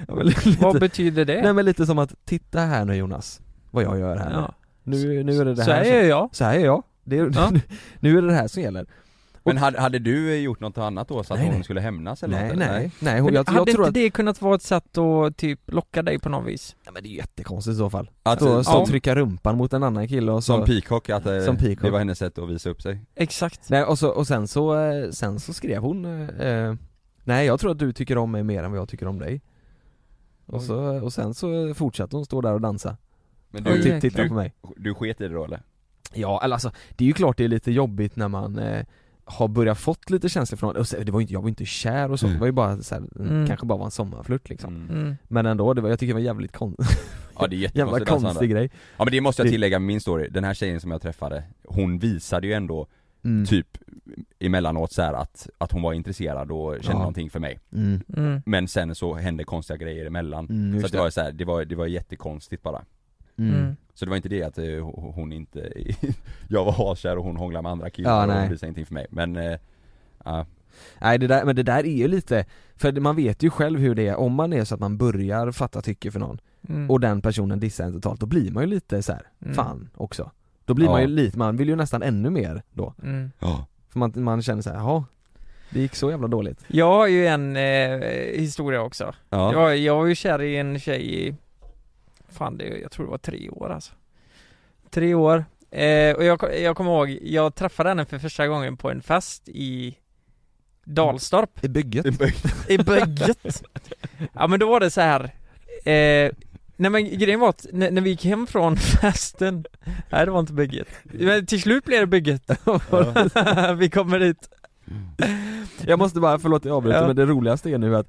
Ja, men lite-
vad betyder det?
Nej men lite som att, titta här nu Jonas, vad jag gör här
ja.
nu. nu är det det
Så
här
här
som-
gör jag.
så här är jag, det är,
Ja.
nu är det det här som gäller
Men hade, hade du eh, gjort något annat då så att
Nej,
hon
nej.
skulle hämnas eller
Nej
något?
nej,
eller?
nej, hon,
Men
jag,
hade
jag tror
inte
att,
det kunnat vara ett sätt att typ locka dig på något vis?
nej, men det är jättekonstigt i så fall
Att,
Stå, stå
som,
och trycka rumpan mot en annan kille och så
som peacock, att eh,
Som peacock.
det var hennes sätt att visa upp sig?
Exakt.
Nej och, så, och sen så, eh, sen så skrev hon eh, eh, Nej jag tror att du tycker om mig mer än vad jag tycker om dig och,
Oj.
så, och sen så fortsatte hon stå där och dansa
Men
och
Oj,
du,
titt,
jäklar.
titta på mig
du sket i det då eller?
Ja eller alltså, det är ju klart det är lite jobbigt när man eh, har börjat fått lite känslor från och så, det var ju inte, jag var ju inte kär och så, det var ju bara så här,
Mm.
kanske bara var en sommarflirt liksom
Mm.
Mm.
Men ändå, det var, jag tycker det var jävligt kon
Ja det är
jävla
jättekonstigt alltså,
konstig grej
Ja men det måste jag
Det-
tillägga med min story, den här tjejen som jag träffade, hon visade ju ändå
mm.
typ emellanåt så här att, att hon var intresserad och kände
Ja.
någonting för mig
Mm.
Mm.
Men sen så hände konstiga grejer emellan
Mm,
Så
just
att det var så här, det var, det var jättekonstigt bara
Mm.
Mm.
Så det var inte det att eh, ho- hon inte, jag var hakkär och hon hånglade med andra killar
Ja,
och
nej.
hon visade ingenting för mig men eh, ja.
Nej det där, men det där är ju lite, för det- man vet ju själv hur det är, om man är så att man börjar fatta tycke för någon
Mm.
och den personen dissar en totalt, då blir man ju lite så här,
Mm.
fan också Då blir
Ja.
man ju lite, man vill ju nästan ännu mer då,
Mm.
Ja.
för man, man känner så här, jaha, det gick så jävla dåligt
Jag har ju en eh, historia också.
Ja.
Jag, var- jag var ju kär i en tjej i, fan det, jag tror det var tre år alltså Tre år, eh, och jag, jag kommer ihåg, jag träffade henne för första gången på en fest i Dalstorp,
I bygget?
i Bögget Ja men då var det så här. Eh, nej men grejen var att när, när vi gick hem från festen, nej det var inte Bögget Men till slut blev det Bögget, vi kommer dit Mm.
Jag måste bara, förlåt jag avbryter
Ja.
men det roligaste är nu att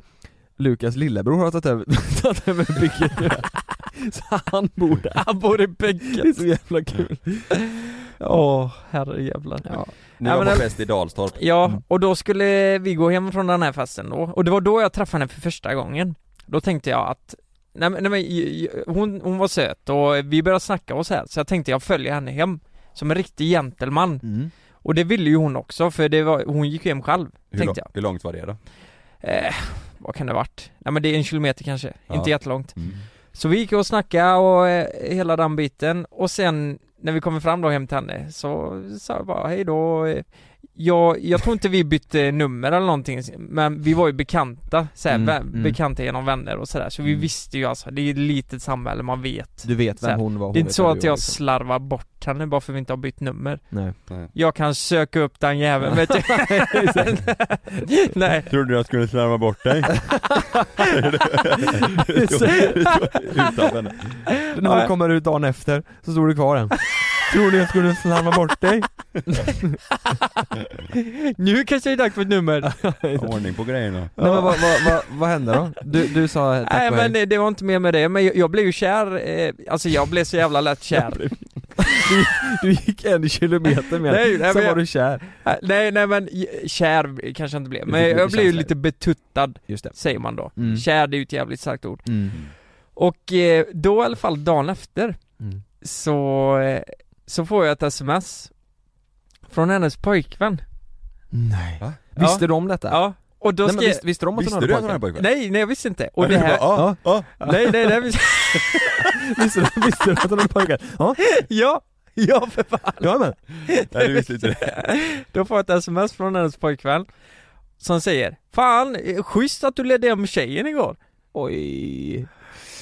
Lukas lillebror har tagit över, tagit över bygget nu Så han bor där
Han bor i
Det är
Bögget
så jävla kul
Åh herrejävlar
Ni
Ja,
var
men-
på fest i Dalstorp
Ja, och då skulle vi gå hem från den här festen då, och det var då jag träffade henne för första gången Då tänkte jag att, nej men, nej, men j- j- hon, hon var söt och vi började snacka och så här, så jag tänkte jag följer henne hem Som en riktig gentleman,
mm.
och det ville ju hon också för det var, hon gick ju hem själv,
hur, lång-
tänkte jag
hur långt var det då?
eh, Vad kan det ha varit? Nej men det är en kilometer kanske,
Ja.
inte jättelångt
Mm.
Så vi gick och snackade och eh, hela den biten och sen när vi kommer fram då hem till henne så sa jag bara hej då. Eh, Jag, jag tror inte vi bytte nummer eller någonting men vi var ju bekanta, så här,
Mm,
vä-
mm.
bekanta genom vänner och sådär så vi
Mm.
visste ju alltså, det är ett litet samhälle, man vet.
Du vet
Så här,
vem hon var, hon
Det är inte
vet
så
vem
att
du var,
jag
liksom.
slarvar bort henne bara för vi inte har bytt nummer.
Nej.
Jag kan söka upp den jäveln vet du. Nej.
Trodde du jag skulle slarva bort dig? Utan henne.
När hon kommer ut dagen efter så står du kvar än Tror ni jag skulle slarva bort dig?
Nu kanske det är dags för ett nummer.
Ordning på grejerna
Nej men vad, vad, vad, vad hände då? Du, du sa tack
Nej
och
men
hej.
eh, det var inte mer med det, men jag, jag blev ju kär, eh, alltså jag blev så jävla lätt kär
Du gick en kilometer med
Nej, nej,
sen
men
var
jag-
du kär
Nej, Äh, Nej nej men j- kär kanske jag inte blev,
Du
men
fick mycket
jag blev ju
känslor.
lite betuttad
Just det
säger man då
Mm.
Kär det är ju ett jävligt starkt ord
mm.
Och eh, då i alla fall dagen efter
Mm.
så, eh, så får jag ett sms Från hennes pojkvän
Nej
Va?
Visste
ja,
du om detta?
Ja, och då
Nej, men
skrev
visst, visste de att
Visste
hon
du att
hade
hon hade
pojkvän?
pojkvän?
Nej nej jag visste inte, och det här
Ja, ja,
Nej nej nej, visste-
Visste du- Visste du att hon hade pojkvän? Ja,
ja, ja för fan
jag med!
nej du visste inte det
Då får jag ett sms från hennes pojkvän Som säger Fan, eh, schysst att du ledde hem tjejen igår
Oj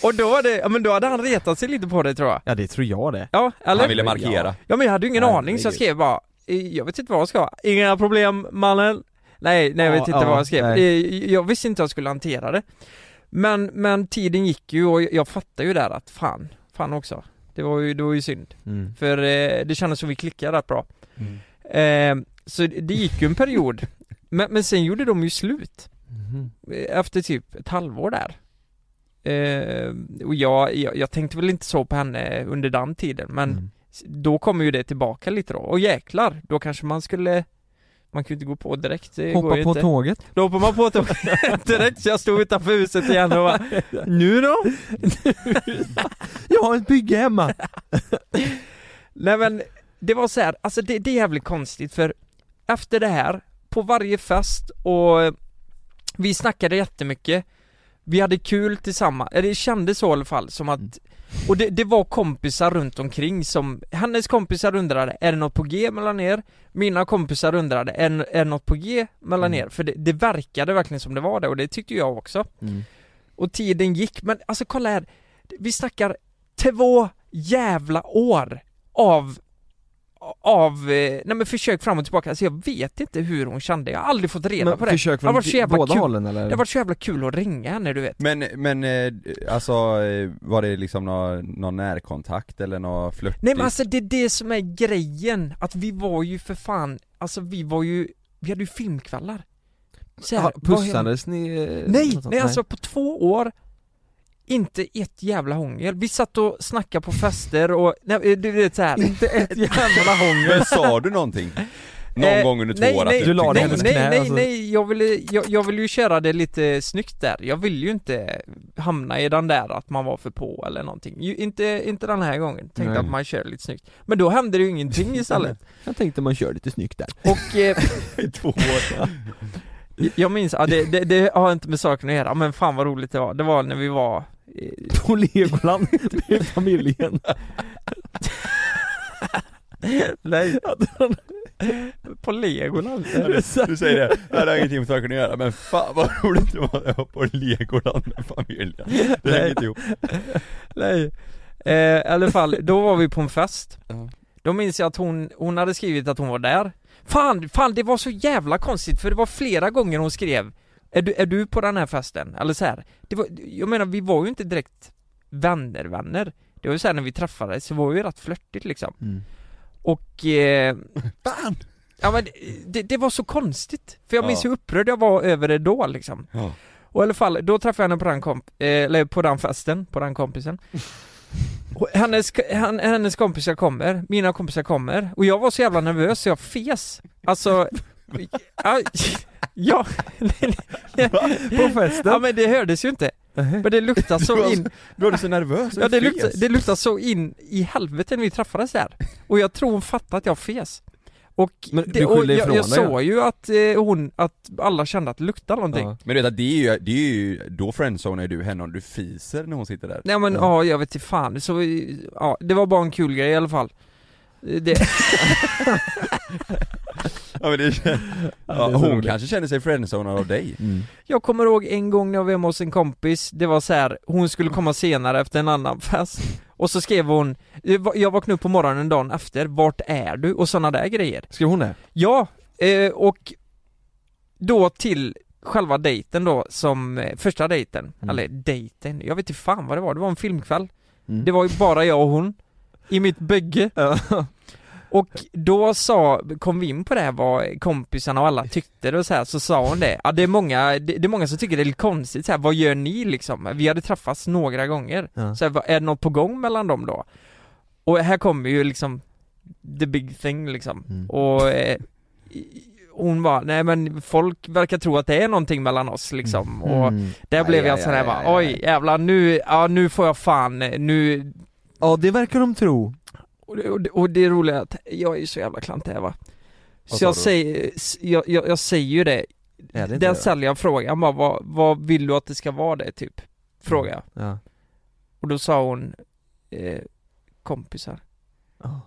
Och då var det, ja men då hade han retat sig lite på det tror jag
Ja det tror jag det
Ja,
Han
eller?
ville markera
Ja men jag hade ju ingen
Herregud.
aning så jag skrev bara eh, Jag vet inte vad jag ska, inga problem mannen Nej, nej jag
Ja,
vet inte
ja,
vad jag skrev
nej.
Eh, Jag visste inte hur jag skulle hantera det Men, men tiden gick ju och jag- jag fattade ju där att fan, fan också Det var ju, det var ju synd
mm.
För eh, det kändes som vi klickade rätt bra eh, Så det det gick ju en period men, men sen gjorde de ju slut
Mhm.
eh, Efter typ ett halvår där eh, Och jag, jag, jag tänkte väl inte så på henne under den tiden men
Mm.
s- Då kommer ju det tillbaka lite då, och jäklar, då kanske man skulle man kan ju inte gå på direkt, det går
Hoppa
ju
på
inte.
tåget
Då hoppar man på tåget direkt, så jag stod utanför huset igen och bara, nu då?
Jag har ett bygge hemma!
Nej men, det var så här, alltså det, det är jävligt konstigt för efter det här, på varje fest och eh, vi snackade jättemycket Vi hade kul tillsammans, eller det kändes så i alla fall som att Och det, det var kompisar runt omkring som, hennes kompisar undrade är det något på G mellan er? Mina kompisar undrade är, är det något på G mellan
Mm.
er? För det, det verkade verkligen som det var det och det tyckte jag också
Mm.
och tiden gick, men alltså kolla här Vi snackar två jävla år av av, eh, nej men försök fram och tillbaka, alltså jag vet inte hur hon kände, jag har aldrig fått reda
Men
på det
försök
Det har
från
varit så jävla
båda
kul.
hållen eller?
Det har varit så jävla kul att ringa henne du vet
Men, men eh, alltså, eh, var det liksom någon, någon närkontakt eller någon flörtigt?
Nej men alltså det är det som är grejen, att vi var ju för fan, alltså vi var ju, vi hade ju filmkvällar så här,
Ja,
vad hände?
Pussades ni? eh, något
Nej,
sånt?
nej alltså på två år inte ett jävla hångel. Vi satt och snackade på fester och, nej, eh, du vet såhär
Inte ett jävla hångel
Men sa du någonting? Någon
Eh,
gång under två
nej,
år att
nej,
du
Du la
tyckte
dig i
Nej,
om det?
nej,
hennes knä,
nej,
alltså.
nej, jag vill, jag, jag vill ju köra det lite snyggt där. Jag vill ju inte hamna i den där att man var för på eller någonting. Ju, inte, inte den här gången, tänkte
Nej.
att man kör lite snyggt. Men då hände det ju ingenting istället.
Jag tänkte man kör lite snyggt där
Och eh,
I två år.
jag minns, ja, det, det, det har inte med saken att göra, men fan vad roligt det var. Det var när vi var eh,
På Legoland med familjen
Nej. på Legoland.
Du säger det, det här har ingenting med saken att göra, men fan vad roligt det var jag var på Legoland med familjen Det hänger inte ihop
Nej, eh, i alla fall, då var vi på en fest
Ja.
Då minns jag att hon, hon hade skrivit att hon var där Fan, fan det var så jävla konstigt för det var flera gånger hon skrev Är du, är du på den här festen? Eller så här. Det var, jag menar vi var ju inte direkt vänner vänner Det var ju såhär när vi träffades, så var vi ju rätt flörtigt liksom Och eh,
Fan!
Ja men det, det var så konstigt, för jag minns
Ja.
hur upprörd jag var över det då liksom
Ja.
Och i alla fall, då träffade jag henne på den komp- eh, eller på den festen, på den kompisen och hennes, hen- hennes kompisar kommer, mina kompisar kommer, och jag var så jävla nervös så jag fes Alltså, ja, ja,
På festen?
ja men det hördes ju inte Men det luktade så in
Du var så nervös,
Ja det luktade, det luktade så in i helvete när vi träffades där Och jag tror hon fattade att jag fes Och,
Men
det,
du skyllde
och jag,
ifrån
jag
dig, ja.
såg ju att eh, hon, att alla kände att det luktade någonting
Ja.
Men du vet att det är ju, det är ju då friendzonar du henne om du fiser när hon sitter där
Nej men
Ja.
ja, jag vet inte fan, så, eh, ja det var bara en kul grej i alla fall det,
Ja men det, ja,
är så
hon
roligt.
kanske känner sig friendzonad av dig
Mm.
Jag kommer ihåg en gång när jag var hemma hos en kompis, det var så här, hon skulle komma senare efter en annan fest Och så skrev hon, jag vaknade upp på morgonen dagen efter, vart är du? Och sådana där grejer
Skrev hon det?
Ja, eh, och då till själva dejten då som, eh, första dejten,
Mm.
eller dejten, jag vet inte fan vad det var, det var en filmkväll
Mm.
Det var ju bara jag och hon, i mitt bygge
Ja.
och då sa, kom vi in på det här vad kompisarna och alla tyckte och så här, så sa hon det, ja det är många, det, det är många som tycker det är lite konstigt så här, vad gör ni liksom? Vi hade träffats några gånger,
Ja.
så här, vad- är det något på gång mellan dem då? Och här kommer ju liksom the big thing liksom,
Mm.
och eh, i- hon var nej men folk verkar tro att det är någonting mellan oss liksom, och
Mm.
där
Aj,
blev jag
aj,
sådär
aj,
bara,
aj, aj.
oj jävlar nu, ja nu får jag fan, eh, nu,
Ja det verkar de tro
och det, och det, och det roliga är att jag är ju så jävla klantig här, va
Vad
Så jag
sa du?
säger, s- jag, jag, jag säger ju det,
Är det inte
där
det?
ställer jag frågan bara, vad, vad vill du att det ska vara det typ?
Mm.
Frågar jag,
Ja.
och då sa hon eh, kompisar
Ja.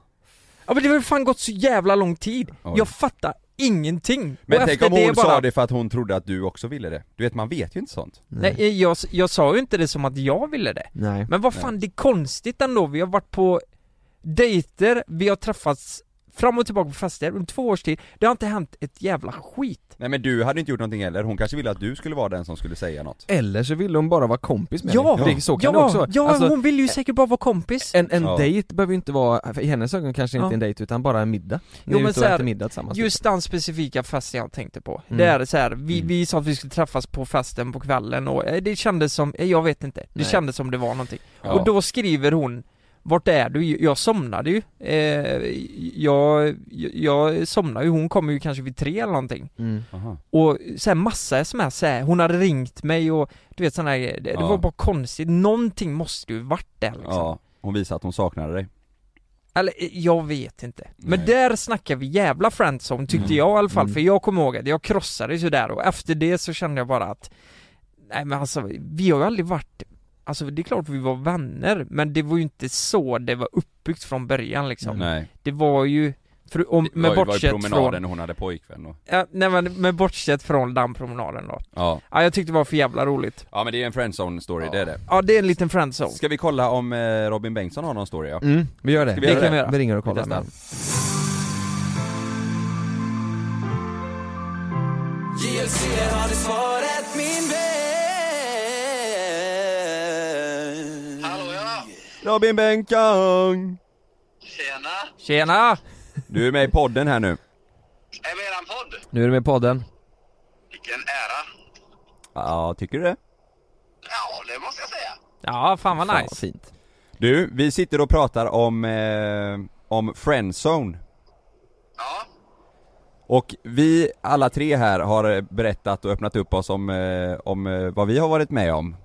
Ja men det har ju fan gått så jävla lång tid,
Oj.
jag fattar ingenting!
Men
Och
tänk
efter
om hon
bara-
sa det för att hon trodde att du också ville det Du vet man vet ju inte sånt
Nej, eh, jag, jag sa ju inte det som att jag ville det
Nej.
Men vad fan, det är konstigt ändå, vi har varit på dejter, vi har träffats fram och tillbaka på fester under två års tid, det har inte hänt ett jävla skit
Nej men du hade inte gjort någonting heller, hon kanske ville att du skulle vara den som skulle säga något
Eller så ville hon bara vara kompis med
Ja!
dig. Det- Så kan
ja,
det också vara.
ja
Alltså,
hon vill ju säkert bara vara kompis
en, en
Ja.
dejt behöver ju inte vara, för i hennes ögon kanske inte
Ja.
en dejt utan bara en middag. Ni
Jo,
är
men
ute
så
och
här,
äter middag tillsammans.
Just den specifika festen jag tänkte på,
Mm.
det är så här, vi,
Mm.
vi sa att vi skulle träffas på festen på kvällen och eh, det kändes som, eh, jag vet inte, det
Nej.
kändes som det var någonting
Ja.
Och då skriver hon vart är du? Jag somnade ju. Eh, jag, jag somnade ju, hon kom ju kanske vid tre eller någonting
Mm.
Aha.
Och så här massa sms, så här, hon hade ringt mig och du vet sådana här grejer. Det, det
Ja.
var bara konstigt, någonting måste ju varit där liksom.
Ja, hon visade att hon saknade dig
Eller eh, jag vet inte. Men
Nej.
där snackar vi jävla friendzone tyckte jag i alla fall,
Mm.
för jag kommer ihåg att jag krossades ju där och efter det så kände jag bara att Nej men alltså, vi har ju aldrig varit Alltså det är klart vi var vänner, men det var ju inte så det var uppbyggt från början liksom
Nej.
Det var ju, för, om, med
det var ju
bortsett
promenaden
från
hon hade pojkvän och,
ja, Nej men med bortsett från den promenaden då
ja.
Ja jag tyckte det var för jävla roligt
ja men det är en friendzone story, det är det
Ja det är en liten friendzone
Ska vi kolla om eh, Robin Bengtsson har någon story ja?
Mm, vi gör det.
Ska vi göra Det kan det?
vi göra.
ringer och kollar
Vi testar.
med
JLC har du svaret min vän
Hallå ja!
Robin Bengtsson!
Tjena!
Tjena!
Du är med i podden här nu
Är vi i eran podd?
Nu är du med i podden.
Vilken ära!
Ja, tycker du det?
Ja, det måste jag säga.
Ja fan vad
Fan,
nice
fint.
Du, vi sitter och pratar om, eh, om friendzone
Ja,
Och vi alla tre här har eh, berättat och öppnat upp oss om, eh, om eh, vad vi har varit med om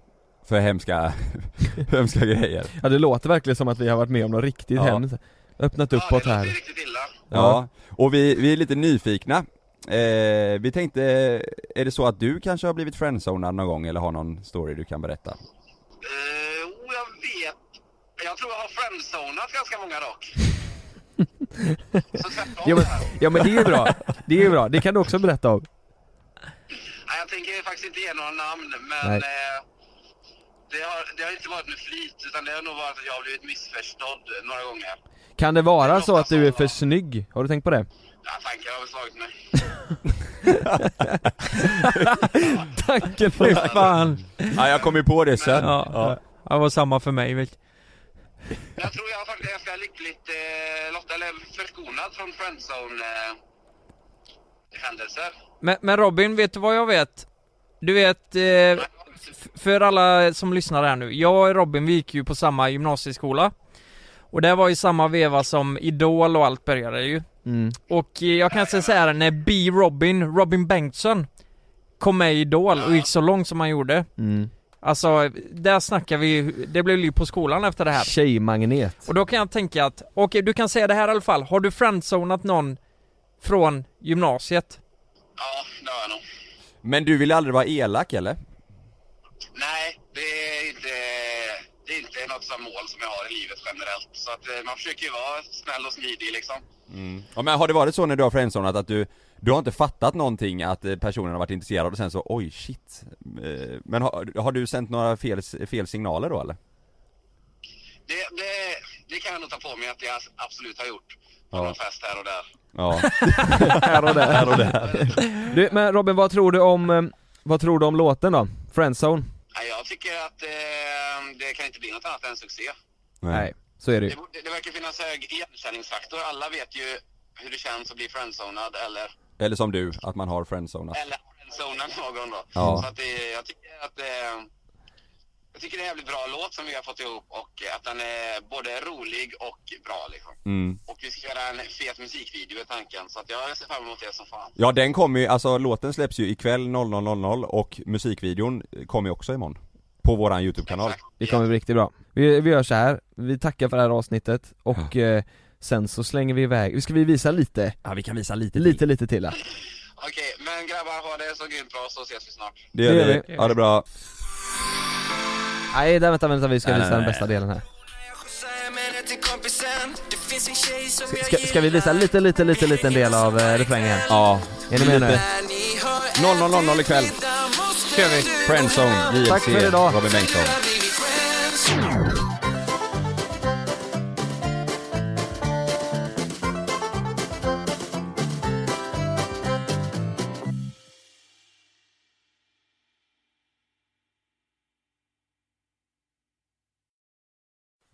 För hemska, hemska grejer
Ja det låter verkligen som att vi har varit med om något riktigt
Ja.
hemskt. Öppnat
ja
uppåt
det låter ju
här.
riktigt illa.
Ja, och vi, vi är lite nyfikna eh, Vi tänkte, eh, är det så att du kanske har blivit friendzonad någon gång eller har någon story du kan berätta?
Eh, oh, jag vet. Jag tror jag har friendzonat ganska många dock. Så tvärtom.
Ja men,
här.
ja men det är ju bra, det är ju bra, det kan du också berätta om.
Nej, jag tänker faktiskt inte ge några namn, men
Nej.
eh, det, har, det har inte varit med flit, utan det har nog varit att jag har blivit missförstådd några gånger.
Kan det vara så att du är för snygg? Har du tänkt på det?
Ja, tankar har väl slagit mig.
Tanken fy fan!
Ja, jag kom ju på det sen
Ja, ja. det var samma för mig vet
Jag tror jag är faktiskt ganska lyckligt eh, lottad, eller förskonad från eh, friendzone-händelser.
men, men Robin, vet du vad jag vet? Du vet, eh, f- för alla som lyssnar här nu, jag och Robin vi gick ju på samma gymnasieskola Och det var ju samma veva som Idol och allt började ju
Mm.
Och eh, jag kan säga så här, när B. Robin, Robin Bengtsson Kom med i Idol och gick så långt som han gjorde
Mm.
Alltså, där snackar vi, det blev liv på skolan efter det här
Tjejmagnet.
Och då kan jag tänka att, okej du kan säga det här i alla fall, har du friendzonat någon från gymnasiet?
Ja, det har jag nog.
Men du vill aldrig vara elak eller?
Nej, det är inte, det är inte något som mål som jag har i livet generellt. Så att eh, man försöker ju vara snäll och smidig liksom.
Ja, men har det varit så när du har friendzonat att du, du har inte fattat någonting att eh, personen har varit intresserad och sen så oj shit Eh, Men har, har du sänt några fel, fel signaler då eller?
Det, det, det kan jag nog ta på mig att jag absolut har gjort. På
Ja.
någon fest här och där.
Ja,
Här och där.
här och där
Du, men Robin vad tror du om, eh, vad tror du om låten då? Friendzone?
Nej, jag tycker att eh, det kan inte bli något annat än succé.
Nej, så är det ju.
Det, borde- det verkar finnas hög igenkänningsfaktor. Alla vet ju hur det känns att bli friendzonad eller,
Eller som du, att man har friendzonat
eller friendzonad någon då.
Ja.
Så att det, jag tycker att eh, jag tycker det är en jävligt bra låt som vi har fått ihop och att den är både rolig och bra liksom.
mm.
Och vi ska göra en fet musikvideo i tanken, så att jag ser fram emot det som fan.
Ja den kommer ju, alltså låten släpps ju ikväll 00.00 och musikvideon eh, kommer ju också imorgon På våran YouTube-kanal
Exakt.
Det kommer bli riktigt bra. Vi, vi gör så här. vi tackar för det här avsnittet och eh, sen så slänger vi iväg, ska vi visa lite?
Ja vi kan visa lite
Lite, lite till här.
Okej, men grabbar, ha det så grymt bra så ses vi snart.
Det gör
Det gör
vi, ja det är bra
Nej, där, vänta, vänta, vi ska
Nej,
visa
nej,
den
nej.
bästa delen här.
Ska, ska vi visa lite, lite, lite, liten del av eh, refrängen?
Ja,
Är ni med nu?
00.00 ikväll.
Kör vi.
friendzone, JLC,
Tack för idag.
Robin Bengtsson